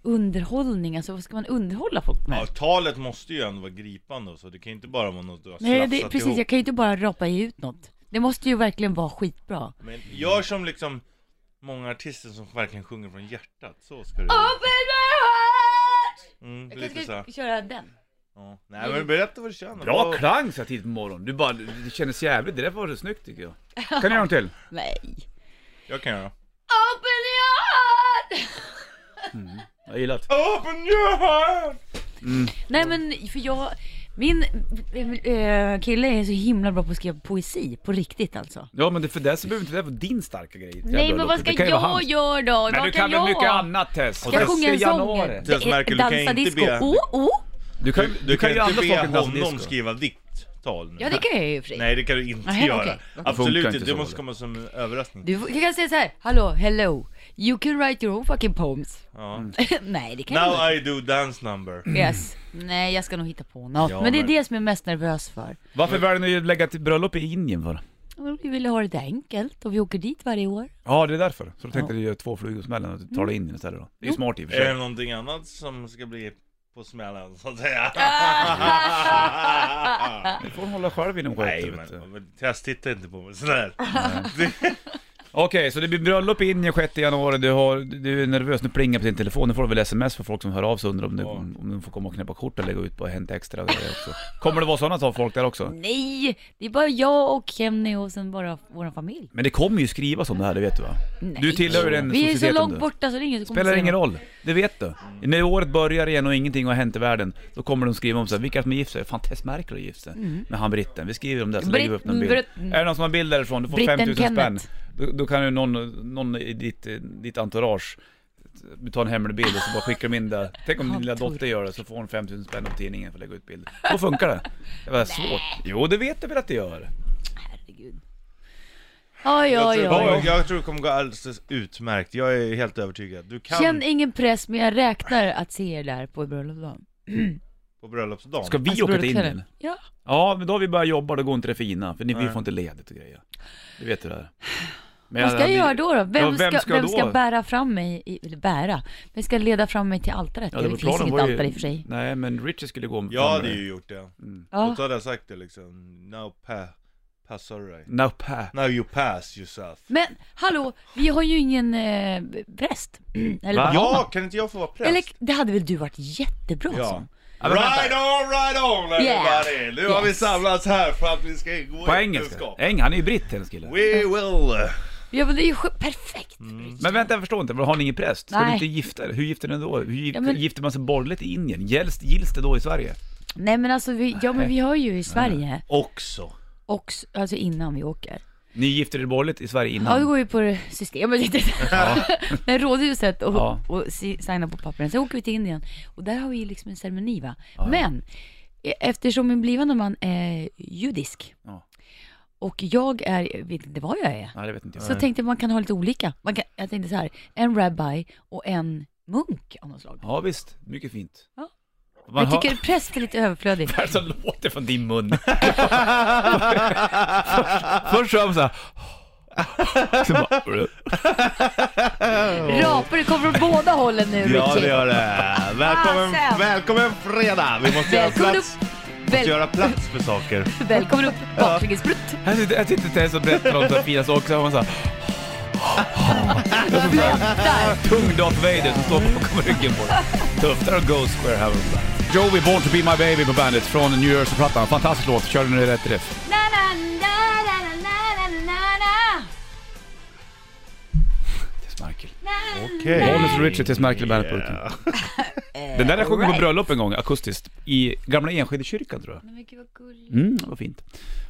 [SPEAKER 3] underhållning, alltså vad ska man underhålla folk med?
[SPEAKER 2] Ja, talet måste ju ändå vara gripande och så, det kan ju inte bara vara något du har
[SPEAKER 3] nej, det,
[SPEAKER 2] slafsat
[SPEAKER 3] precis,
[SPEAKER 2] ihop.
[SPEAKER 3] jag kan ju inte bara rapa ut något. Det måste ju verkligen vara skitbra.
[SPEAKER 2] Men gör som liksom många artister som verkligen sjunger från hjärtat, så ska du
[SPEAKER 3] Open my heart!
[SPEAKER 2] mm,
[SPEAKER 3] Ah! Jag kanske
[SPEAKER 2] lite så här.
[SPEAKER 3] ska köra den.
[SPEAKER 2] Ja. Nej men berätta vad du känner
[SPEAKER 1] Bra
[SPEAKER 2] Vad-
[SPEAKER 1] klang så här tidigt på morgonen. Du bara, det kändes jävligt. Det där var snyggt tycker jag. Kan du göra en till?
[SPEAKER 3] Nej.
[SPEAKER 2] Jag kan göra
[SPEAKER 3] Open your heart!
[SPEAKER 1] Jag gillar det.
[SPEAKER 2] Open your heart!
[SPEAKER 3] Nej men, för jag, min eh, kille är så himla bra på att skriva poesi, på riktigt alltså.
[SPEAKER 1] Ja men det, för det så behöver inte det vara din starka grej.
[SPEAKER 3] Nej men vad ska jag göra då?
[SPEAKER 1] Men
[SPEAKER 3] vad
[SPEAKER 1] du kan väl
[SPEAKER 3] jag?
[SPEAKER 1] mycket annat Tess?
[SPEAKER 2] Och
[SPEAKER 3] Ska jag
[SPEAKER 2] Tess-
[SPEAKER 1] Tess
[SPEAKER 3] sjunga en
[SPEAKER 1] i
[SPEAKER 3] sång?
[SPEAKER 1] januari.
[SPEAKER 2] Tess Merkel, du kan
[SPEAKER 3] Dansa
[SPEAKER 2] inte
[SPEAKER 3] disco?
[SPEAKER 2] be-
[SPEAKER 3] Oh, oh.
[SPEAKER 1] Du kan,
[SPEAKER 2] Du,
[SPEAKER 1] du,
[SPEAKER 2] du
[SPEAKER 1] kan
[SPEAKER 2] kan,
[SPEAKER 1] ju andra
[SPEAKER 2] inte
[SPEAKER 1] saker
[SPEAKER 2] be
[SPEAKER 1] än dansa
[SPEAKER 2] honom
[SPEAKER 1] disco.
[SPEAKER 2] skriva ditt tal nu
[SPEAKER 3] Ja det kan jag ju i och för sig.
[SPEAKER 2] Nej det kan du inte
[SPEAKER 3] Nej,
[SPEAKER 2] göra
[SPEAKER 3] okej.
[SPEAKER 1] Funkar
[SPEAKER 2] Absolut
[SPEAKER 1] inte
[SPEAKER 2] inte, det
[SPEAKER 1] så,
[SPEAKER 2] måste
[SPEAKER 1] eller?
[SPEAKER 2] komma som en överraskning
[SPEAKER 3] Du får- jag kan säga så här. hallå, hello. You can write your own fucking poems.
[SPEAKER 2] ja.
[SPEAKER 3] Nej det kan jag inte.
[SPEAKER 2] Now I do dance number
[SPEAKER 3] Yes. Nej jag ska nog hitta på något.
[SPEAKER 2] Ja,
[SPEAKER 3] men det är
[SPEAKER 2] men-
[SPEAKER 3] det som jag är mest nervös för.
[SPEAKER 1] Varför väljer ni att lägga till bröllop i Indien för?
[SPEAKER 3] Men Vi ville ha det där enkelt och vi åker dit varje år.
[SPEAKER 1] Ja Mm. det är därför. Så då tänkte du göra två flugor i smällen och tala Indien istället då. Det är ju smart i och för
[SPEAKER 2] Är det
[SPEAKER 1] sig.
[SPEAKER 2] någonting annat som ska bli på smällen så att säga?
[SPEAKER 1] Du får hålla själv inom
[SPEAKER 2] Nej
[SPEAKER 1] skämtet. vet du.
[SPEAKER 2] men, men Tess titta inte på mig sådär
[SPEAKER 1] Okej, så det blir bröllop i Indien 6 januari. Du, har, du är nervös, nu plingar på din telefon. Nu får du väl sms för folk som hör av sig och undrar om, du,
[SPEAKER 2] Ja.
[SPEAKER 1] om de får komma och knäppa kort och lägga ut på Hänt Extra och grejer också. Kommer det vara sådana som folk där också?
[SPEAKER 3] Nej, det är bara jag och Kenny och sen bara vår familj.
[SPEAKER 1] Men det kommer ju skrivas om det här, det vet du va?
[SPEAKER 3] Nej.
[SPEAKER 1] Du tillhör ju den
[SPEAKER 3] Vi är ju så
[SPEAKER 1] societeten,
[SPEAKER 3] långt
[SPEAKER 1] du.
[SPEAKER 3] borta så det är ingen som kommer
[SPEAKER 1] Spelar
[SPEAKER 3] säga
[SPEAKER 1] ingen
[SPEAKER 3] något. Mm.
[SPEAKER 1] roll, det vet du. När året börjar igen och ingenting har hänt i världen, då kommer de skriva om så här, vilka som har gift sig. Fan, Tess Merkel har gift sig
[SPEAKER 3] Mm.
[SPEAKER 1] med han britten. Vi skriver om det, så lägger vi upp någon bild.
[SPEAKER 3] Britten-
[SPEAKER 1] Är det någon som har bild därifrån, du får
[SPEAKER 3] Britten
[SPEAKER 1] 5000 spänn.
[SPEAKER 3] Kenneth.
[SPEAKER 1] Då, då kan ju någon, någon i ditt, eh, ditt entourage eh, ta en hemlig bild och så bara skickar de in det. Tänk om din lilla dotter gör det, så får hon 5000 spänn av tidningen för att lägga ut bild. Då funkar det. Det var svårt. Jo, det vet du väl att det gör.
[SPEAKER 3] Herregud. Oj, oj,
[SPEAKER 2] Jag tror-
[SPEAKER 3] oj.
[SPEAKER 2] Jag tror det kommer gå alldeles utmärkt, jag är helt övertygad. Du kan
[SPEAKER 3] Känn ingen press, men jag räknar att se er där på bröllopsdagen.
[SPEAKER 2] på bröllopsdagen.
[SPEAKER 1] Ska vi
[SPEAKER 3] Alltså,
[SPEAKER 1] åka till
[SPEAKER 3] bröllopskläder.
[SPEAKER 1] Indien?
[SPEAKER 3] Ja.
[SPEAKER 1] Ja, men då har vi börjat jobba, då går inte det fina. För ni, vi
[SPEAKER 2] Nej.
[SPEAKER 1] får inte ledigt och grejer. Du vet hur det är. Men
[SPEAKER 3] Vad ska jag
[SPEAKER 1] vi-
[SPEAKER 3] göra då? då? Vem,
[SPEAKER 1] Ja, vem
[SPEAKER 3] ska,
[SPEAKER 1] ska
[SPEAKER 3] vem
[SPEAKER 1] då?
[SPEAKER 3] ska bära fram mig, i, eller bära, vem ska leda fram mig till altaret?
[SPEAKER 1] Ja, var
[SPEAKER 3] det finns
[SPEAKER 1] planen
[SPEAKER 3] inget
[SPEAKER 1] var ju-
[SPEAKER 3] altare i och för sig.
[SPEAKER 1] Nej, men Richie skulle gå med
[SPEAKER 2] Jag hade ju gjort det.
[SPEAKER 1] Mm.
[SPEAKER 3] Ja.
[SPEAKER 2] Och så hade jag sagt det liksom, now pa, pass alright.
[SPEAKER 1] No pa.
[SPEAKER 2] Now you pass yourself.
[SPEAKER 3] Men hallå, vi har ju ingen eh, präst. Eller
[SPEAKER 1] Va?
[SPEAKER 3] vad har man?
[SPEAKER 2] Ja, kan inte jag få vara präst?
[SPEAKER 3] Eller det hade väl du varit jättebra
[SPEAKER 2] Ja.
[SPEAKER 3] som?
[SPEAKER 1] men vänta.
[SPEAKER 2] Right on, right on everybody! Nu har vi
[SPEAKER 3] Yes.
[SPEAKER 2] samlats här för att vi ska ingå
[SPEAKER 1] På
[SPEAKER 2] i
[SPEAKER 1] engelska. Eh. Eng, han är ju britt hennes kille.
[SPEAKER 2] We will...
[SPEAKER 3] Ja men det är ju sj- perfekt!
[SPEAKER 1] Men vänta, jag förstår inte. Har ni ingen präst? Ska
[SPEAKER 3] Nej.
[SPEAKER 1] du inte gifta er? Hur gifter ni er då? Hur gifter,
[SPEAKER 3] Ja, men-
[SPEAKER 1] gifter man sig borgerligt i Indien? Gills, gills det då i Sverige?
[SPEAKER 3] Nej men alltså, vi, ja men vi har ju i Sverige,
[SPEAKER 2] Också.
[SPEAKER 3] och, s- alltså innan vi åker.
[SPEAKER 1] Ni gifter er borgerligt i Sverige
[SPEAKER 3] Ja
[SPEAKER 1] innan?
[SPEAKER 3] då går vi på det systemet lite. Men rådhuset och,
[SPEAKER 1] Ja.
[SPEAKER 3] och si- signa på pappren. Sen åker vi till Indien och där har vi ju liksom en ceremoni va. Men e- eftersom min blivande man är judisk
[SPEAKER 1] Ja.
[SPEAKER 3] och jag är, jag vet inte vad jag är.
[SPEAKER 1] Nej, det vet inte jag.
[SPEAKER 3] Så tänkte jag man kan ha lite olika. Man kan, jag tänkte så här, en rabbi och en munk av något slag.
[SPEAKER 1] Ja, visst. Mycket fint.
[SPEAKER 3] Ja.
[SPEAKER 1] Man
[SPEAKER 3] jag tycker präst är lite överflödig.
[SPEAKER 1] hör som låter från din mun. Först hör man såhär... Så bara...
[SPEAKER 3] Rapor, det kommer från båda hållen nu
[SPEAKER 2] Ja,
[SPEAKER 3] Richie.
[SPEAKER 2] det gör det. Välkommen,
[SPEAKER 3] Fasen.
[SPEAKER 2] välkommen fredag! Vi måste göra
[SPEAKER 3] Ah, Välkommen
[SPEAKER 2] plats,
[SPEAKER 3] upp!
[SPEAKER 2] måste
[SPEAKER 3] Väl,
[SPEAKER 2] göra plats för saker.
[SPEAKER 3] välkommen upp baklängesbrutt!
[SPEAKER 1] Jag sitter, jag sitter inte ens och berättar om så här fina saker, så hör man såhär...
[SPEAKER 3] Där!
[SPEAKER 1] Tung Darth Vader som står bakom ryggen på dig. Tufft. Där har Ghost Square Heaven. Joey Born to be my baby på bandet från New Jersey-plattan. Fantastisk låt, kör den i rätt riff.
[SPEAKER 3] Na, na, na, na, na, na, na, na, na.
[SPEAKER 1] Tess Merkel.
[SPEAKER 2] Okej.
[SPEAKER 1] Bonus och Richard Tess Merkel i bandet-burken. Den där jag sjöng på bröllop en gång, akustiskt. I gamla Enskede-kyrkan tror jag.
[SPEAKER 3] Men gud vad gulligt.
[SPEAKER 1] Mm, vad fint.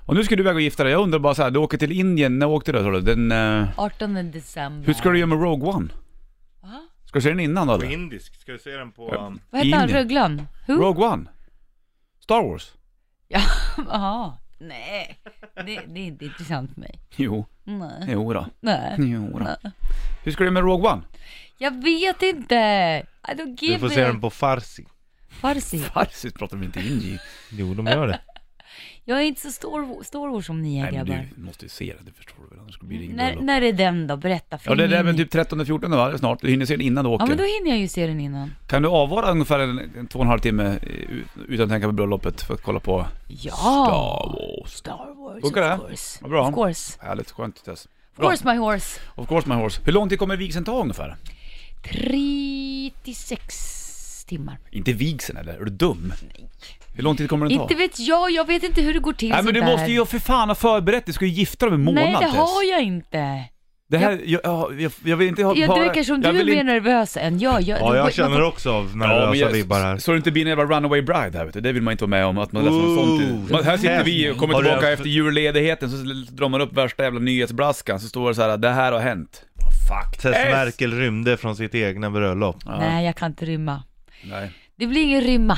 [SPEAKER 1] Och nu ska du iväg och gifta dig. Jag undrar bara så här, du åker till Indien, när åkte du? Tror du? Den, eh,
[SPEAKER 3] 18 december.
[SPEAKER 1] hur ska du göra med Rogue One?
[SPEAKER 3] Va?
[SPEAKER 1] Ska du se den innan då?
[SPEAKER 2] På
[SPEAKER 1] eller?
[SPEAKER 2] indisk, ska du se den på...
[SPEAKER 1] Ja.
[SPEAKER 2] um,
[SPEAKER 3] Vad heter han,
[SPEAKER 1] Indien.
[SPEAKER 3] Rugglan? Who?
[SPEAKER 1] Rogue One? Star Wars?
[SPEAKER 3] Jaha. Nej, det, det är inte intressant för mig.
[SPEAKER 1] Jo,
[SPEAKER 2] Mm.
[SPEAKER 3] Nej.
[SPEAKER 1] jo då.
[SPEAKER 3] Nej.
[SPEAKER 1] Jo då. Hur ska du göra med Rogue One?
[SPEAKER 3] Jag vet inte. I don't give
[SPEAKER 2] Du får se
[SPEAKER 3] a-
[SPEAKER 2] den på farsi.
[SPEAKER 3] Farsi.
[SPEAKER 1] Farsis pratar vi inte indie
[SPEAKER 2] Jo, de gör det.
[SPEAKER 3] Jag är inte så stor, stor år som ni är
[SPEAKER 1] Nej men
[SPEAKER 3] grabbar.
[SPEAKER 1] du måste ju se det, det förstår du väl? Annars blir det ingen
[SPEAKER 3] När,
[SPEAKER 1] bröllop.
[SPEAKER 3] när är den då? Berätta för
[SPEAKER 1] Ja det är
[SPEAKER 3] min-
[SPEAKER 1] där med typ 13-14 va, snart. Du hinner se den innan du åker.
[SPEAKER 3] Ja men då hinner jag ju se den innan.
[SPEAKER 1] Kan du avvara ungefär en, en två och en halv timme eh, ut- utan att tänka på bröllopet för att kolla på
[SPEAKER 3] Ja!
[SPEAKER 1] Star Wars?
[SPEAKER 3] Star Wars,
[SPEAKER 1] Funkar det?
[SPEAKER 3] of course.
[SPEAKER 1] Vad bra.
[SPEAKER 3] Of course.
[SPEAKER 1] Härligt, skönt Tess.
[SPEAKER 3] Of
[SPEAKER 1] Bra.
[SPEAKER 3] course my horse.
[SPEAKER 1] Of course my horse. Hur lång tid kommer vigseln ta ungefär?
[SPEAKER 3] 36 timmar.
[SPEAKER 1] Inte vigseln eller? Är du dum? Nej. Hur lång tid kommer den ta?
[SPEAKER 3] Inte vet jag, jag vet inte hur det går till
[SPEAKER 1] Nej men du
[SPEAKER 3] sånt där.
[SPEAKER 1] måste ju för fan ha förberett dig, du ska ju gifta dig om en månad
[SPEAKER 3] Nej det
[SPEAKER 1] Tess.
[SPEAKER 3] har jag inte.
[SPEAKER 1] Det här, jag, jag, jag, jag vill inte ha...
[SPEAKER 3] Ja, du
[SPEAKER 1] bara-
[SPEAKER 3] verkar som
[SPEAKER 1] jag
[SPEAKER 3] du är
[SPEAKER 1] vill
[SPEAKER 3] mer
[SPEAKER 1] inte-
[SPEAKER 3] nervös än jag. jag
[SPEAKER 2] Ja,
[SPEAKER 3] det-
[SPEAKER 2] jag
[SPEAKER 3] man får-
[SPEAKER 2] känner också av
[SPEAKER 1] Ja, men
[SPEAKER 2] nervösa
[SPEAKER 1] jag-
[SPEAKER 2] vibbar här.
[SPEAKER 1] Så det inte blir en jävla runaway bride här vet du. Det vill man inte vara med om. Att man alltså, läser något sånt. i-
[SPEAKER 2] Ooh.
[SPEAKER 1] typ- Man, här sitter vi och kommer
[SPEAKER 2] Har du
[SPEAKER 1] tillbaka
[SPEAKER 2] haft-
[SPEAKER 1] efter julledigheten så drar man upp värsta jävla nyhetsbraskan så står det så här: det här har hänt. Vad fuck.
[SPEAKER 2] Tess Merkel rymde från sitt egna bröllop.
[SPEAKER 3] Nej jag kan inte rymma.
[SPEAKER 1] Nej.
[SPEAKER 3] Det blir ingen rymma.